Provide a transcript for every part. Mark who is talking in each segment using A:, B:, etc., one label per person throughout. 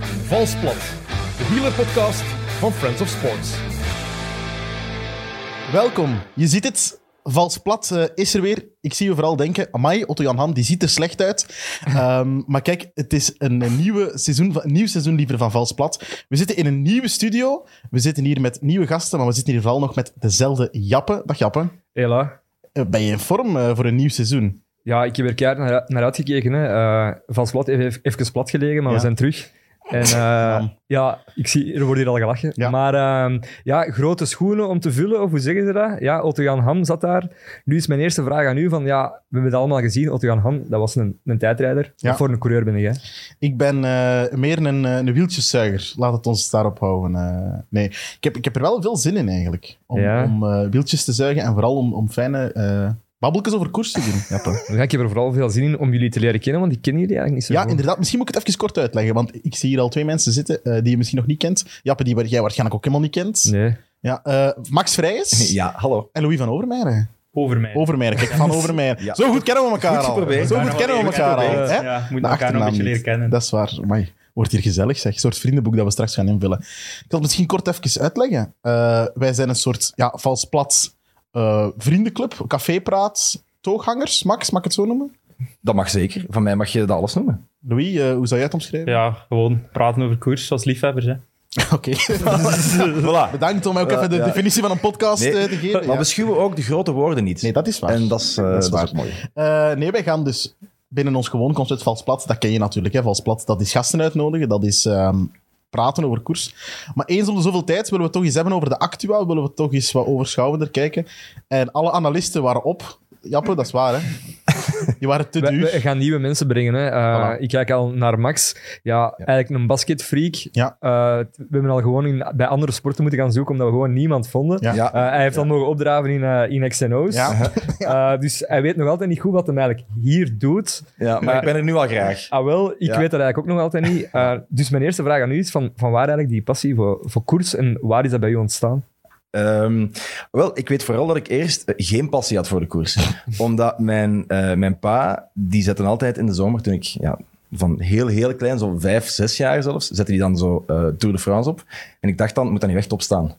A: Valsplat, de wielerpodcast van Friends of Sports.
B: Welkom. Je ziet het. Vals plat eh, is er weer. Ik zie je vooral denken, amai, Otto-Jan Ham, die ziet er slecht uit. Ehm, maar kijk, het is een, eh, nieuwe seizoen, van- een nieuw seizoen liever van Vals plat. We zitten in een nieuwe studio. We zitten hier met nieuwe gasten, maar we zitten hier vooral nog met dezelfde Jappe. Dag Jappe.
C: Hela.
B: Eh, ben je in vorm eh, voor een nieuw seizoen?
C: Ja, ik heb er keihard naar, naar uitgekeken. Hè. Eh, Van Slot heeft even- even plat gelegen, maar
B: Ja.
C: we zijn terug. En eh, ja, ik zie, er wordt hier al gelachen.
B: Ja.
C: Maar ehm, ja, grote schoenen om te vullen, of hoe zeggen ze dat? Ja, Otto-Jan Ham zat daar. Nu is mijn eerste vraag aan u, van ja, we hebben het allemaal gezien. Otto-Jan Ham, dat was een, een tijdrijder. Wat
B: Ja.
C: voor een coureur ben jij?
B: Ik ben eh, meer een, eh, een wieltjeszuiger. Laat het ons daarop houden. eh. nee, ik heb, ik heb er wel veel zin in eigenlijk. Om,
C: Ja.
B: om eh, wieltjes te zuigen en vooral om, om fijne eh babbeltjes over koers te doen, Jappe.
C: Ja, ik heb er vooral veel zin in om jullie te leren kennen, want ik ken jullie eigenlijk niet zo
B: Ja,
C: goed.
B: inderdaad. Misschien moet ik het even kort uitleggen, want ik zie hier al twee mensen zitten eh, die je misschien nog niet kent. Jappe, die waar- jij waarschijnlijk ook helemaal niet kent.
C: Nee.
B: Ja, eh, Max Vrijs
D: Ja, hallo.
B: en Louis van Overmeijer.
E: Over mij.
B: Overmeijer, kijk, van Overmeijer.
D: Ja.
B: Zo goed kennen we elkaar
D: Goed
B: al.
D: geprobeerd.
B: Zo goed
E: Bijna
B: kennen we
E: wel
B: elkaar al.
E: even
B: Hè?
E: Ja, moet
B: De
E: elkaar nog
B: achternaam
E: een beetje
B: niet.
E: leren kennen.
B: Dat is waar. Amai. Wordt hier gezellig, zeg. Een soort vriendenboek dat we straks gaan invullen. Ik zal het misschien kort even uitleggen. Eh, wij zijn een soort ja, vals plat eh, vriendenclub, cafépraat, tooghangers. Max, mag ik het zo noemen?
D: Dat mag zeker. Van mij mag je dat alles noemen.
B: Louis, eh, hoe zou jij het omschrijven?
E: Ja, gewoon praten over koers als liefhebbers. Hè.
B: Oké.
D: Voilà.
B: Bedankt om mij ook even de
D: ja.
B: definitie van een podcast
D: Nee,
B: eh, te geven.
D: Maar
B: Ja.
D: beschuwen ook de grote woorden niet.
B: Nee, dat is waar.
D: en dat is, eh,
B: Dat
D: dat
B: is
D: is
B: waar.
D: ook mooi.
B: Eh, nee, wij gaan dus binnen ons gewoon concept Vals Plat, dat ken je natuurlijk. Hè? Vals Plat, dat is gasten uitnodigen, dat is ehm, praten over koers. Maar eens om de zoveel tijd willen we het toch eens hebben over de actua, willen we het toch eens wat overschouwender kijken. En alle analisten waren op. Jappe, dat is waar, hè? Die waren te
C: We, we
B: duur.
C: gaan nieuwe mensen brengen. Hè. Eh,
B: Dus- Voilà.
C: Ik kijk al naar Max. Ja, eigenlijk een basketfreak.
B: Ja.
C: Eh, t- we hebben al gewoon in, bij andere sporten moeten gaan zoeken, omdat we gewoon niemand vonden.
B: Ja.
D: Ja.
C: Eh, hij heeft dan mogen opdraven in, eh, in XNO's.
B: Ja.
C: Eh, dus hij weet nog altijd niet goed wat hem eigenlijk hier doet.
D: ja, maar
C: Eh,
D: ik ben er nu al graag.
C: Ah, wel, ik
D: Ja.
C: weet dat eigenlijk ook nog altijd niet. Eh, dus mijn eerste vraag aan u is: van, van waar eigenlijk die passie voor, voor koers en waar is dat bij u ontstaan?
D: Ehm, wel, ik weet vooral dat ik eerst eh, geen passie had voor de koers. Omdat mijn, eh, mijn pa, die zette altijd in de zomer, toen ik ja, van heel, heel klein, zo vijf, zes jaar zelfs, zette die dan zo eh, Tour de France op. En ik dacht dan, moet dat niet rechtop staan.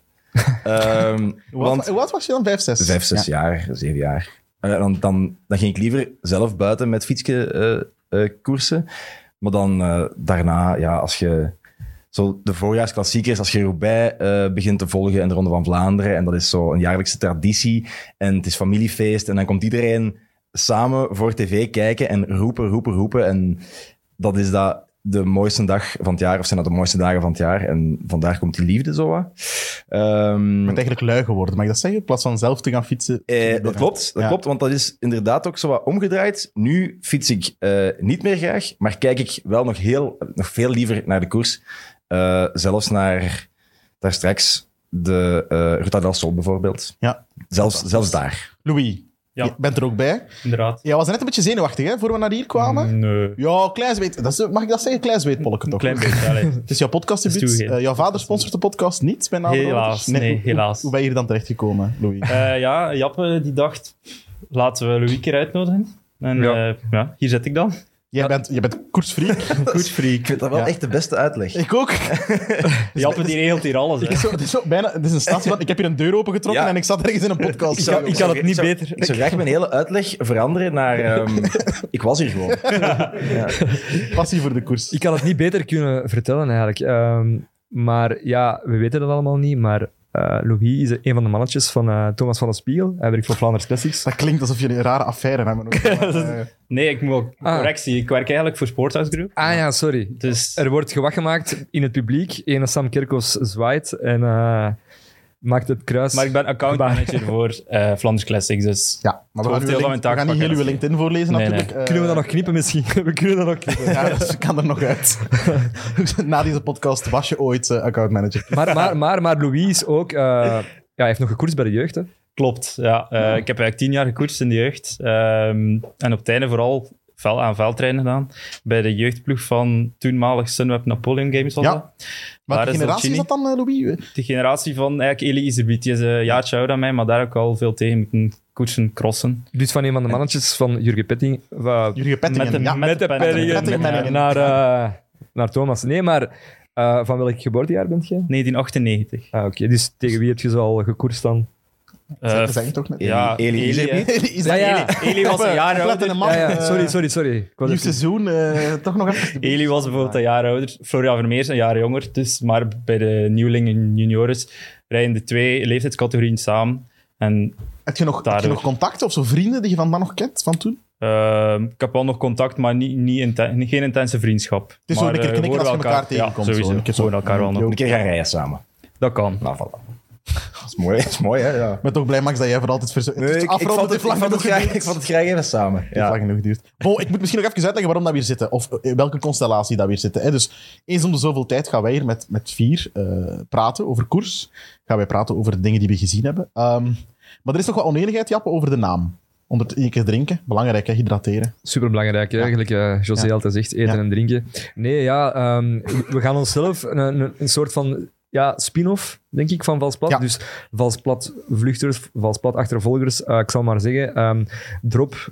D: Ehm,
B: Wat, hoe oud was je dan? Vijf, zes?
D: Vijf, zes
B: Ja.
D: jaar, zeven jaar. Eh, dan, dan, dan ging ik liever zelf buiten met fietsje eh, eh, koersen. Maar dan eh, daarna, ja, als je zo de voorjaarsklassiekers, als je Roubaix eh, begint te volgen en de Ronde van Vlaanderen, en dat is zo een jaarlijkse traditie, en het is familiefeest, en dan komt iedereen samen voor tv kijken en roepen, roepen, roepen. En dat is dat de mooiste dag van het jaar, of zijn dat de mooiste dagen van het jaar. En vandaar komt die liefde zo wat. Ehm,
B: Je bent eigenlijk lui geworden, mag ik dat zeggen? In plaats van zelf te gaan fietsen.
D: eh, dat klopt, dat
B: Ja.
D: klopt, want dat is inderdaad ook zo wat omgedraaid. Nu fiets ik eh, niet meer graag, maar kijk ik wel nog, heel, nog veel liever naar de koers. Eh, zelfs naar daar straks de eh Ruta del Sol bijvoorbeeld.
B: Ja.
D: Zelfs, zelfs daar.
B: Louis,
E: Ja.
B: je bent er ook bij.
E: Inderdaad. Mm,
B: Jij was net een beetje zenuwachtig, hè, voor we naar hier
D: Mm.
B: kwamen.
E: Nee.
B: Ja, klein zweet. Dat is, mag ik dat zeggen? Klein zweetpolletje
E: Een
B: toch?
E: klein beetje. allee.
B: Het is jouw podcast
E: Dat is
B: debuut.
E: toegeven.
B: Eh, jouw vader sponsort de podcast niet, mijn naam
E: Helaas, nee,
B: hoe- hoe-
E: helaas.
B: Hoe ben je hier dan terechtgekomen, Louis?
E: Eh, ja, Jappe die dacht, laten we Louis een keer uitnodigen. En
C: Ja.
E: eh, ja, hier zit ik dan.
B: jij, bent, jij bent koersfreak.
D: Ik vind dat wel
B: Ja.
D: echt de beste uitleg.
B: ik ook. Het
E: Jappe die regelt hier alles. Hè.
B: is zo- Het is, zo bijna, het is een staat van, ik heb hier een deur opengetrokken
D: Ja.
B: en ik zat ergens in een podcast.
D: Ik zou-
C: Ik kan het niet
D: zou-
C: beter.
D: Ik zou graag mijn hele uitleg veranderen naar... ehm, ik was hier gewoon.
B: Passie voor de koers.
C: Ik had het niet beter kunnen vertellen eigenlijk. Ehm, maar ja, we weten dat allemaal niet. Maar eh, Louis is een van de mannetjes van eh, Thomas van der Spiegel. Hij werkt voor Vlaanders Classics.
B: dat klinkt alsof jullie een rare affaire hebben. Ook, maar, eh,
E: Nee, ik moet ook
C: Ah.
E: correctie. Ik werk eigenlijk voor Sporthouse Group.
C: Ah ja, sorry.
E: Dus
C: Er wordt gewacht gemaakt in het publiek. Ene Sam Kerkhoffs zwaait en eh, maakt het kruis.
E: maar ik ben accountmanager voor eh Flanders Classics. Dus
B: ja, maar we gaan,
E: Hoofddeel
B: uw link-
E: van mijn taak
B: we gaan niet heel
E: pakken.
B: uw LinkedIn voorlezen,
E: Nee, nee.
B: natuurlijk. Eh,
C: Kunnen we dat nog knippen misschien? We kunnen dat nog knippen.
B: Ja, dat kan er nog uit. Na deze podcast was je ooit eh, accountmanager.
C: Maar, maar, maar, maar Louis is ook... eh, ja, hij heeft nog gekoerst bij de jeugd. Hè.
E: Klopt, ja. Eh, Ik heb eigenlijk tien jaar gekoerst in de jeugd. Ehm, en op het einde vooral vel aan veldtrainen gedaan. Bij de jeugdploeg van toenmalig Sunweb Napoleon Games was
B: Ja.
E: dat.
B: Welke
E: is
B: generatie is
E: Dolcini?
B: dat dan, eh, Louis?
E: De generatie van eigenlijk Elie Izerbiet. Die is een jaartje ouder dan mij, maar daar ook al veel tegen moeten koersen, crossen.
C: Dus van een van de mannetjes van Jurgen Petting. eh,
B: Jurgen Pettingen.
E: Met de-
B: ja.
E: met de
C: met de
E: penningen.
C: penningen
B: Met de penningen.
C: naar, eh, naar Thomas. Nee, maar Eh, van welk geboortejaar bent je?
E: 1998.
C: Ah, oké. Dus tegen wie heb je zo al gekoerst dan?
E: Eh,
B: dat zeg je toch net?
E: ja,
D: Eli- Eli-
E: Eli, hè.
B: Is dat-
C: Ja, ja.
E: Eli- Eli was een jaar ouder.
B: Oplettende man.
C: Ja, ja,
B: eh,
C: sorry, sorry, sorry. Ik was
B: Nieuw
C: even-
B: seizoen, eh, toch nog even.
E: Eli was bijvoorbeeld een jaar ouder, Florian Vermeers een jaar jonger. Dus, maar bij de nieuwelingen en juniores rijden de twee leeftijdscategorieën samen. En
B: Heb je nog, heb je
E: Daardoor.
B: nog contacten of zo vrienden die je van dan nog kent, van toen?
E: ehm, ik heb wel nog contact, maar niet, niet inten- geen intense vriendschap. Het
B: is zo een keer knikken als je elkaar tegenkomt,
E: Ja,
B: zo.
E: sowieso.
B: Een keer zo,
E: Gewoon elkaar wel
B: een
E: nog.
B: keer
D: Een keer gaan rijden samen.
E: Dat kan.
D: Nou, voilà. Dat is mooi, dat is mooi hè? Ja.
B: Ik ben toch blij, Max, dat jij voor altijd... Verzo-
D: Nee, ik, ik,
B: afronden
D: vond het,
B: heeft lang
D: ik, vond het
B: genoeg
D: graag,
B: geduurd.
D: ik vond het graag even samen.
B: ja.
D: Ja.
B: lang genoeg duurt. Bo, ik moet misschien nog even uitleggen waarom dat we hier zitten. Of eh, welke constellatie dat we hier zitten. Hè. Dus eens om de zoveel tijd gaan wij hier met, met vier eh, praten over koers. Gaan wij praten over de dingen die we gezien hebben. Ehm, maar er is nog wat oneenigheid, Jappe, over de naam. Onder het één keer drinken. Belangrijk, hè, hydrateren.
C: Superbelangrijk, hè, eigenlijk. eh José altijd zegt, eten
B: Ja.
C: en drinken. Nee, ja, ehm, we gaan onszelf een, een, een soort van ja, spin-off, denk ik, van Valsplat.
B: Ja.
C: Dus Valsplat vluchters, Valsplat achtervolgers. Eh, ik zal maar zeggen, ehm, drop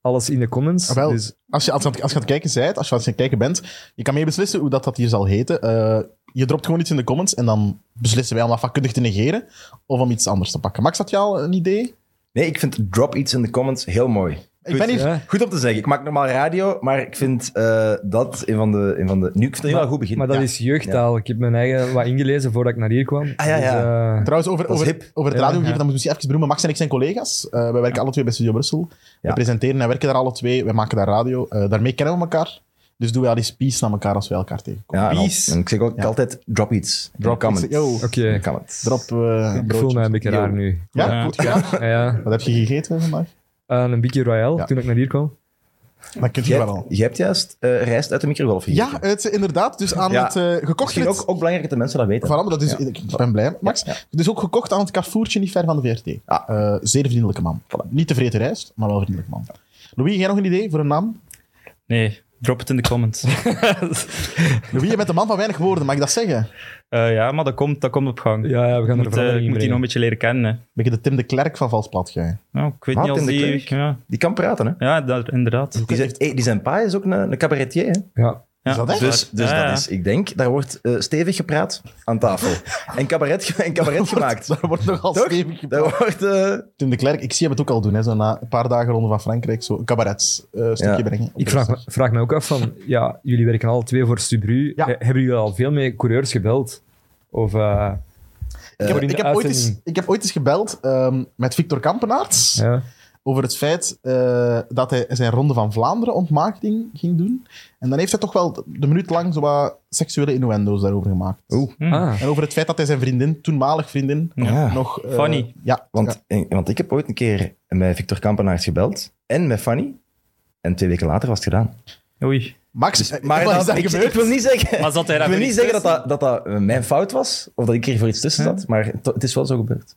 C: alles in de comments.
B: Ah, wel.
C: Dus
B: Als je, als, je, aan het- als je aan het kijken bent, als je aan het kijken bent, je kan mee beslissen hoe dat, dat hier zal heten. Eh, je dropt gewoon iets in de comments en dan beslissen wij om dat vakkundig te negeren of om iets anders te pakken. Max, had je al een idee?
D: Nee, ik vind drop iets in de comments heel mooi.
B: Ik ben hier...
C: ja.
D: Goed om te zeggen. Ik maak normaal radio, maar ik vind eh, dat een van de... Een van de nu, ik vind het een heel goed begin.
C: Maar dat
D: Ja.
C: is jeugdtaal. Ik heb mijn eigen wat ingelezen voordat ik naar hier kwam.
D: Ah, ja, ja.
C: Dus, eh,
B: Trouwens, over,
D: Dat is
B: over,
D: hip.
B: over het
C: Ja,
B: radiogeven,
C: ja.
B: dan moet ik misschien even benoemen. Max en ik zijn collega's. Eh, wij werken alle twee bij Studio Brussel. We presenteren en werken daar alle twee. Wij maken daar radio. Eh, daarmee kennen we elkaar. Dus doen wij al eens peace naar elkaar als wij elkaar tegenkomen.
D: Ja, en al-
E: Peace.
D: en ik zeg ook
B: Ja.
D: altijd drop iets.
B: Drop
D: comments.
B: iets, yo.
D: In de
C: Oké.
D: comments.
B: Drop eh,
C: ik voel
B: broodjes.
C: mij een beetje
B: Yo.
C: raar nu.
B: Ja,
E: Ja.
B: Goed gedaan.
C: Ja, ja.
B: Wat heb je gegeten vandaag?
C: Eh, een Biggie Royale,
B: Ja.
C: toen ik naar hier kwam.
B: Dat kunt je
D: Jij,
B: wel al.
D: jij hebt juist eh, rijst uit de microgolf gegeten.
B: Ja, het, inderdaad. Dus aan
D: Ja.
B: het eh, gekocht
D: Misschien
B: werd...
D: ook, ook belangrijk dat de mensen dat weten.
B: Voilà, maar dat is,
D: Ja.
B: Ik ben blij, Max.
D: Ja.
B: Dus ook gekocht aan het Carrefourtje, niet ver van de VRT.
D: Ah.
B: Eh, zeer vriendelijke man. Niet te vreten rijst, maar wel een vriendelijke man. Louis, jij nog een idee voor een naam?
E: Nee, drop het in de comments.
B: Louis, je bent een man van weinig woorden, mag ik dat zeggen?
E: Eh, ja, maar dat komt, dat komt op gang.
C: Ja, ja, we gaan
E: Ik
C: er
E: moet, eh,
C: verandering
E: ik
C: in
E: moet die nog
C: brengen.
E: een beetje leren kennen. hè.
B: Beetje de Tim de Klerk van Valsplat, jij.
E: Nou, ik weet
D: Wat,
E: niet
D: in
E: als
D: de
E: die...
D: klerk?
E: Ja,
D: Die kan praten, hè?
E: ja dat, inderdaad.
D: Die zijn, hey, die zijn pa is ook een, een cabaretier, hè?
C: Ja.
E: Ja,
B: dat echt?
D: Dus, dus
E: Ja, ja.
D: dat is, ik denk, daar wordt eh, stevig gepraat aan tafel. En cabaret, ge- en cabaret gemaakt.
B: Daar wordt nogal
D: Toch?
B: stevig
D: Daar wordt... eh,
B: Tim de Klerk, ik zie hem het ook al doen, hè, zo na een paar dagen ronde van Frankrijk, zo een cabaretstukje
D: Ja.
B: brengen.
C: Ik vraag me, vraag me ook af van, ja, jullie werken alle twee voor Subru.
B: Ja.
C: Eh, Hebben jullie al veel mee coureurs gebeld? Of, eh,
B: Ik heb,
C: voor in
B: ik
C: de
B: heb ooit
C: uitzending?
B: eens, ik heb ooit eens gebeld ehm, met Victor Kampenaerts
C: ja.
B: over het feit eh, dat hij zijn Ronde van Vlaanderen ontmaakting ging doen. En dan heeft hij toch wel de minuut lang zo wat seksuele innuendo's daarover gemaakt.
E: Hm.
C: Ah,
B: En over het feit dat hij zijn vriendin, toenmalig vriendin,
D: ja.
B: nog... eh,
E: Fanny.
B: Ja, ja.
D: Want, eh, want ik heb ooit een keer met Victor Kampenaerts gebeld. En met Fanny. En twee weken later was het gedaan.
E: Oei.
C: Dus-
B: Max, eh,
D: Maar
B: wat is
D: dat-
B: daar
D: ik,
B: gebeurd?
D: ik wil niet zeggen...
E: Maar zat hij daar
D: Ik wil
E: weer
D: niet
E: iets
D: zeggen dat dat, dat dat eh, mijn fout was, of dat ik hier voor iets tussen zat, maar to- het is wel zo gebeurd.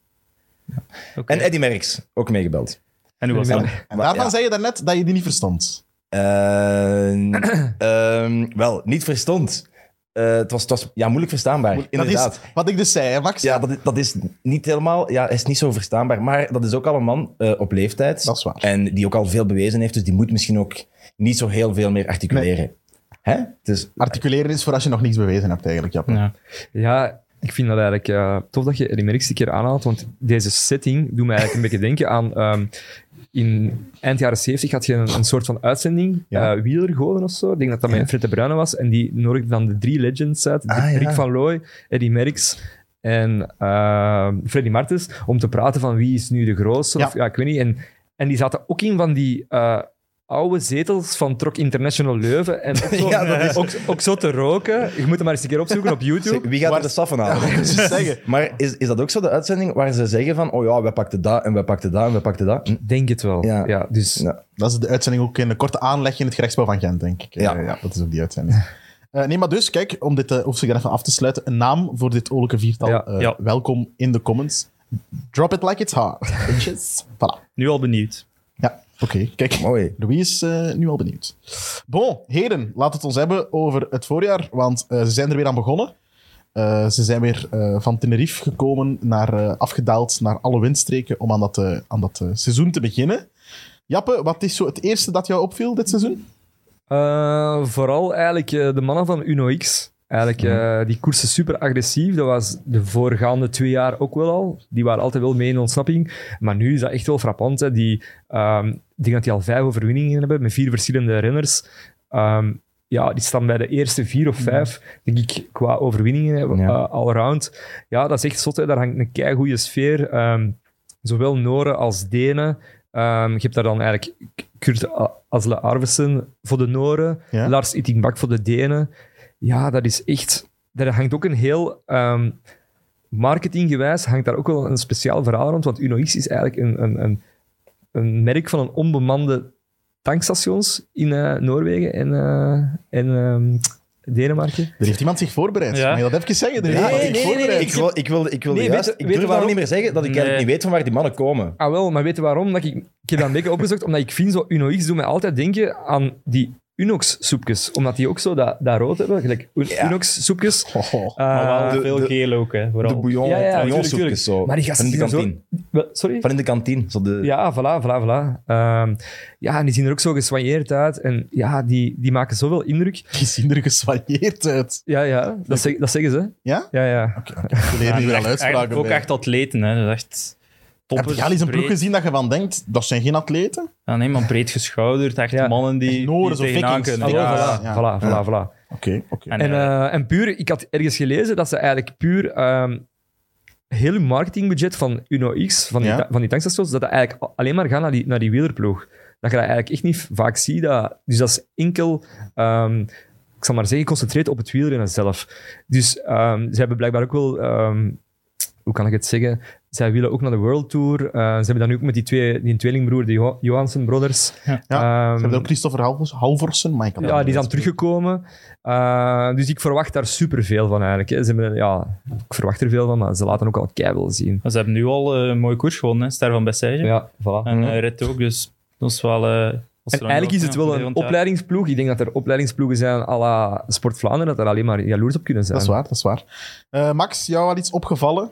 E: tussen? Oké.
D: En Eddie Merckx, ook meegebeld.
E: En hoe was dat?
B: En daarvan
D: Ja.
B: zei je daarnet dat je die niet verstond.
D: Eh, ehm, wel, niet verstond. Eh, het, was, het was ja, moeilijk verstaanbaar, inderdaad.
B: Dat is wat ik dus zei, hè, Max.
D: ja, dat, is- dat is niet helemaal... Ja, is niet zo verstaanbaar. Maar dat is ook al een man eh, op leeftijd.
B: Dat is waar.
D: En die ook al veel bewezen heeft, dus die moet misschien ook niet zo heel veel meer articuleren. Hè? Dus
B: Articuleren is voor als je nog niets bewezen hebt, eigenlijk. Jappe.
E: Ja.
C: ja, ik vind dat eigenlijk eh, tof dat je Eddie Merckx een keer aanhaalt, want deze setting doet mij eigenlijk een beetje denken aan... ehm, in eind jaren 70 had je een, een soort van uitzending, eh
D: Ja.
C: wielergoden of zo. Ik denk dat dat met Fred de Bruyne was. En die nodigde dan de drie legends uit.
D: Ah, ja.
C: Rick van Looy, Eddie Merckx en eh, Freddy Martens. Om te praten van wie is nu de grootste.
B: Ja.
C: Of, ja, ik weet niet. En, en die zaten ook in van die... eh, oude zetels van Trok International Leuven. En ook zo,
D: Ja, dat
C: ook, ook zo te roken. Je moet hem maar eens een keer opzoeken op YouTube.
D: wie gaat er de saffen halen?
B: Dus zeggen.
D: Maar is, is dat ook zo de uitzending waar ze zeggen van, oh ja, wij pakten dat en wij pakten dat en wij pakten dat? Hm,
C: Denk het wel.
D: Ja.
C: Ja. dus
D: Ja.
B: Dat is de uitzending ook in de korte aanleg in het gerechtsbouw van Gent, denk ik.
D: Ja.
B: Eh, ja dat is ook die uitzending. Eh, nee, maar dus, kijk, om dit eh, hoofdstuk er even af te sluiten, een naam voor dit oorlijke viertal.
C: Ja.
B: Eh,
E: Ja.
B: Welkom in de comments. Drop it like it's hot, bitches. Voilà.
E: Nu al benieuwd.
B: Ja, oké. Kijk,
D: Mooi.
B: Louis is eh, nu al benieuwd. Bon, heren, laten we het ons hebben over het voorjaar, want eh, ze zijn er weer aan begonnen. Eh, ze zijn weer eh, van Tenerife gekomen, naar, eh, afgedaald naar alle windstreken om aan dat, eh, aan dat eh, seizoen te beginnen. Jappe, wat is zo het eerste dat jou opviel dit seizoen?
C: Eh, vooral eigenlijk eh, de mannen van Uno X. Eigenlijk,
D: Mhm.
C: eh, die koersen super agressief. Dat was de voorgaande twee jaar ook wel al. Die waren altijd wel mee in ontsnapping. Maar nu is dat echt wel frappant. Hè. Die, ehm, ik denk dat die al vijf overwinningen hebben met vier verschillende renners. Ehm, ja, die staan bij de eerste vier of vijf, denk ik, qua overwinningen eh,
D: Ja.
C: eh, allround. Ja, dat is echt zot. Hè. Daar hangt een keigoede sfeer. Ehm, zowel Noren als Denen. Ehm, je hebt daar dan eigenlijk Kurt A- Asle Arvesen voor de Noren,
B: Ja.
C: Lars Ittingbak voor de Denen. Ja, dat is echt... Daar hangt ook een heel... ehm, marketinggewijs hangt daar ook wel een speciaal verhaal rond, want UnoX is eigenlijk een, een, een, een merk van een onbemande tankstations in eh, Noorwegen en, eh, en ehm, Denemarken.
B: Er heeft iemand zich voorbereid.
E: Ja.
B: Mag je dat even zeggen? Er
E: Ja,
B: heeft
E: nee,
B: iemand zich
C: nee,
B: voorbereid.
D: Ik, wil, ik, wilde, ik, wilde
C: Nee,
D: juist,
C: weet-
D: ik
C: weet
D: durf
C: waarom-
D: al niet meer zeggen dat ik eigenlijk
E: Nee.
D: niet weet van waar die mannen komen.
C: Ah wel, maar weet je waarom? Dat ik, ik heb dat een beetje opgezocht, omdat ik vind, zo UnoX doet mij altijd denken aan die Unox-soepjes, omdat die ook zo dat, dat rood hebben, gelijk Un-
D: Ja.
C: Unox-soepjes.
B: Oh, oh.
C: Eh,
E: maar wel
D: de-
E: veel
D: de-
E: geel ook, hè, vooral.
D: de bouillon,
C: Ja, ja,
D: bouillon
E: tuurlijk,
D: soepjes,
E: tuurlijk.
D: zo.
C: Maar die
D: van
C: gasten
D: in de
C: zien er zo-
D: kantine.
C: wel, sorry?
D: Van in de kantine. Zo de,
C: Ja, voilà, voilà, voilà. Ehm, ja, en die zien er ook zo geswanjeerd uit. En ja, die, die maken zoveel indruk.
B: Die zien er geswanjeerd uit.
C: Ja, ja, dat, zeg- dat zeggen ze.
B: Ja?
C: Ja, ja.
B: Ik leer nu weer al
E: Echt- eigenlijk
B: uitspraken
E: ook
B: bij.
E: echt atleten, hè. Dat is echt
B: Heb
E: toppers.
B: je al eens een ploeg
E: breed.
B: gezien dat je van denkt, dat zijn geen atleten?
E: Ja, nee, maar breed geschouderd. Echt
C: Ja.
E: mannen die,
B: Echt Noren,
E: die
B: zo
E: tegenaan
B: Vikings.
E: kunnen.
C: Hallo,
E: Ja,
C: voilà,
B: ja.
C: Ah, voilà, voilà, voilà.
B: Oké, oké.
E: En,
C: En,
E: eh,
C: eh, en puur, ik had ergens gelezen dat ze eigenlijk puur ehm heel hun marketingbudget van Uno X, van die,
B: Ja.
C: ta- van die tankstations, dat dat eigenlijk a- alleen maar gaat naar die, naar die wielerploeg. Dat je dat eigenlijk echt niet vaak ziet. Dat, dus dat is enkel, ehm, ik zal maar zeggen, geconcentreerd op het wielrennen zelf. Dus ehm, ze hebben blijkbaar ook wel, ehm, hoe kan ik het zeggen, zij willen ook naar de World Tour. Eh, ze hebben dan ook met die, twee, die tweelingbroer, de Jo- Johansen Brothers.
B: Ja,
C: Ehm,
B: Ze hebben ook Christopher Halvors- Halvorsen, maar ik kan dat
C: ja, die
B: niet
C: is dan
B: weten.
C: teruggekomen. Eh, dus ik verwacht daar superveel van eigenlijk. Hè. Ze hebben, ja, ik verwacht er veel van, maar ze laten ook al keihard zien.
E: ze hebben nu al eh, een mooie koers gewonnen, hè. Ster van Bessage.
C: Ja, voilà.
E: En eh Red ook, dus dat is wel... eh, dat is
C: En
E: wel
C: eigenlijk is het
E: ja,
C: wel
E: rond
C: een
E: daar.
C: opleidingsploeg. Ik denk dat er opleidingsploegen zijn à la Sport Vlaanderen, dat er alleen maar jaloers op kunnen zijn.
B: Dat is waar, dat is waar. Eh, Max, jou al iets opgevallen?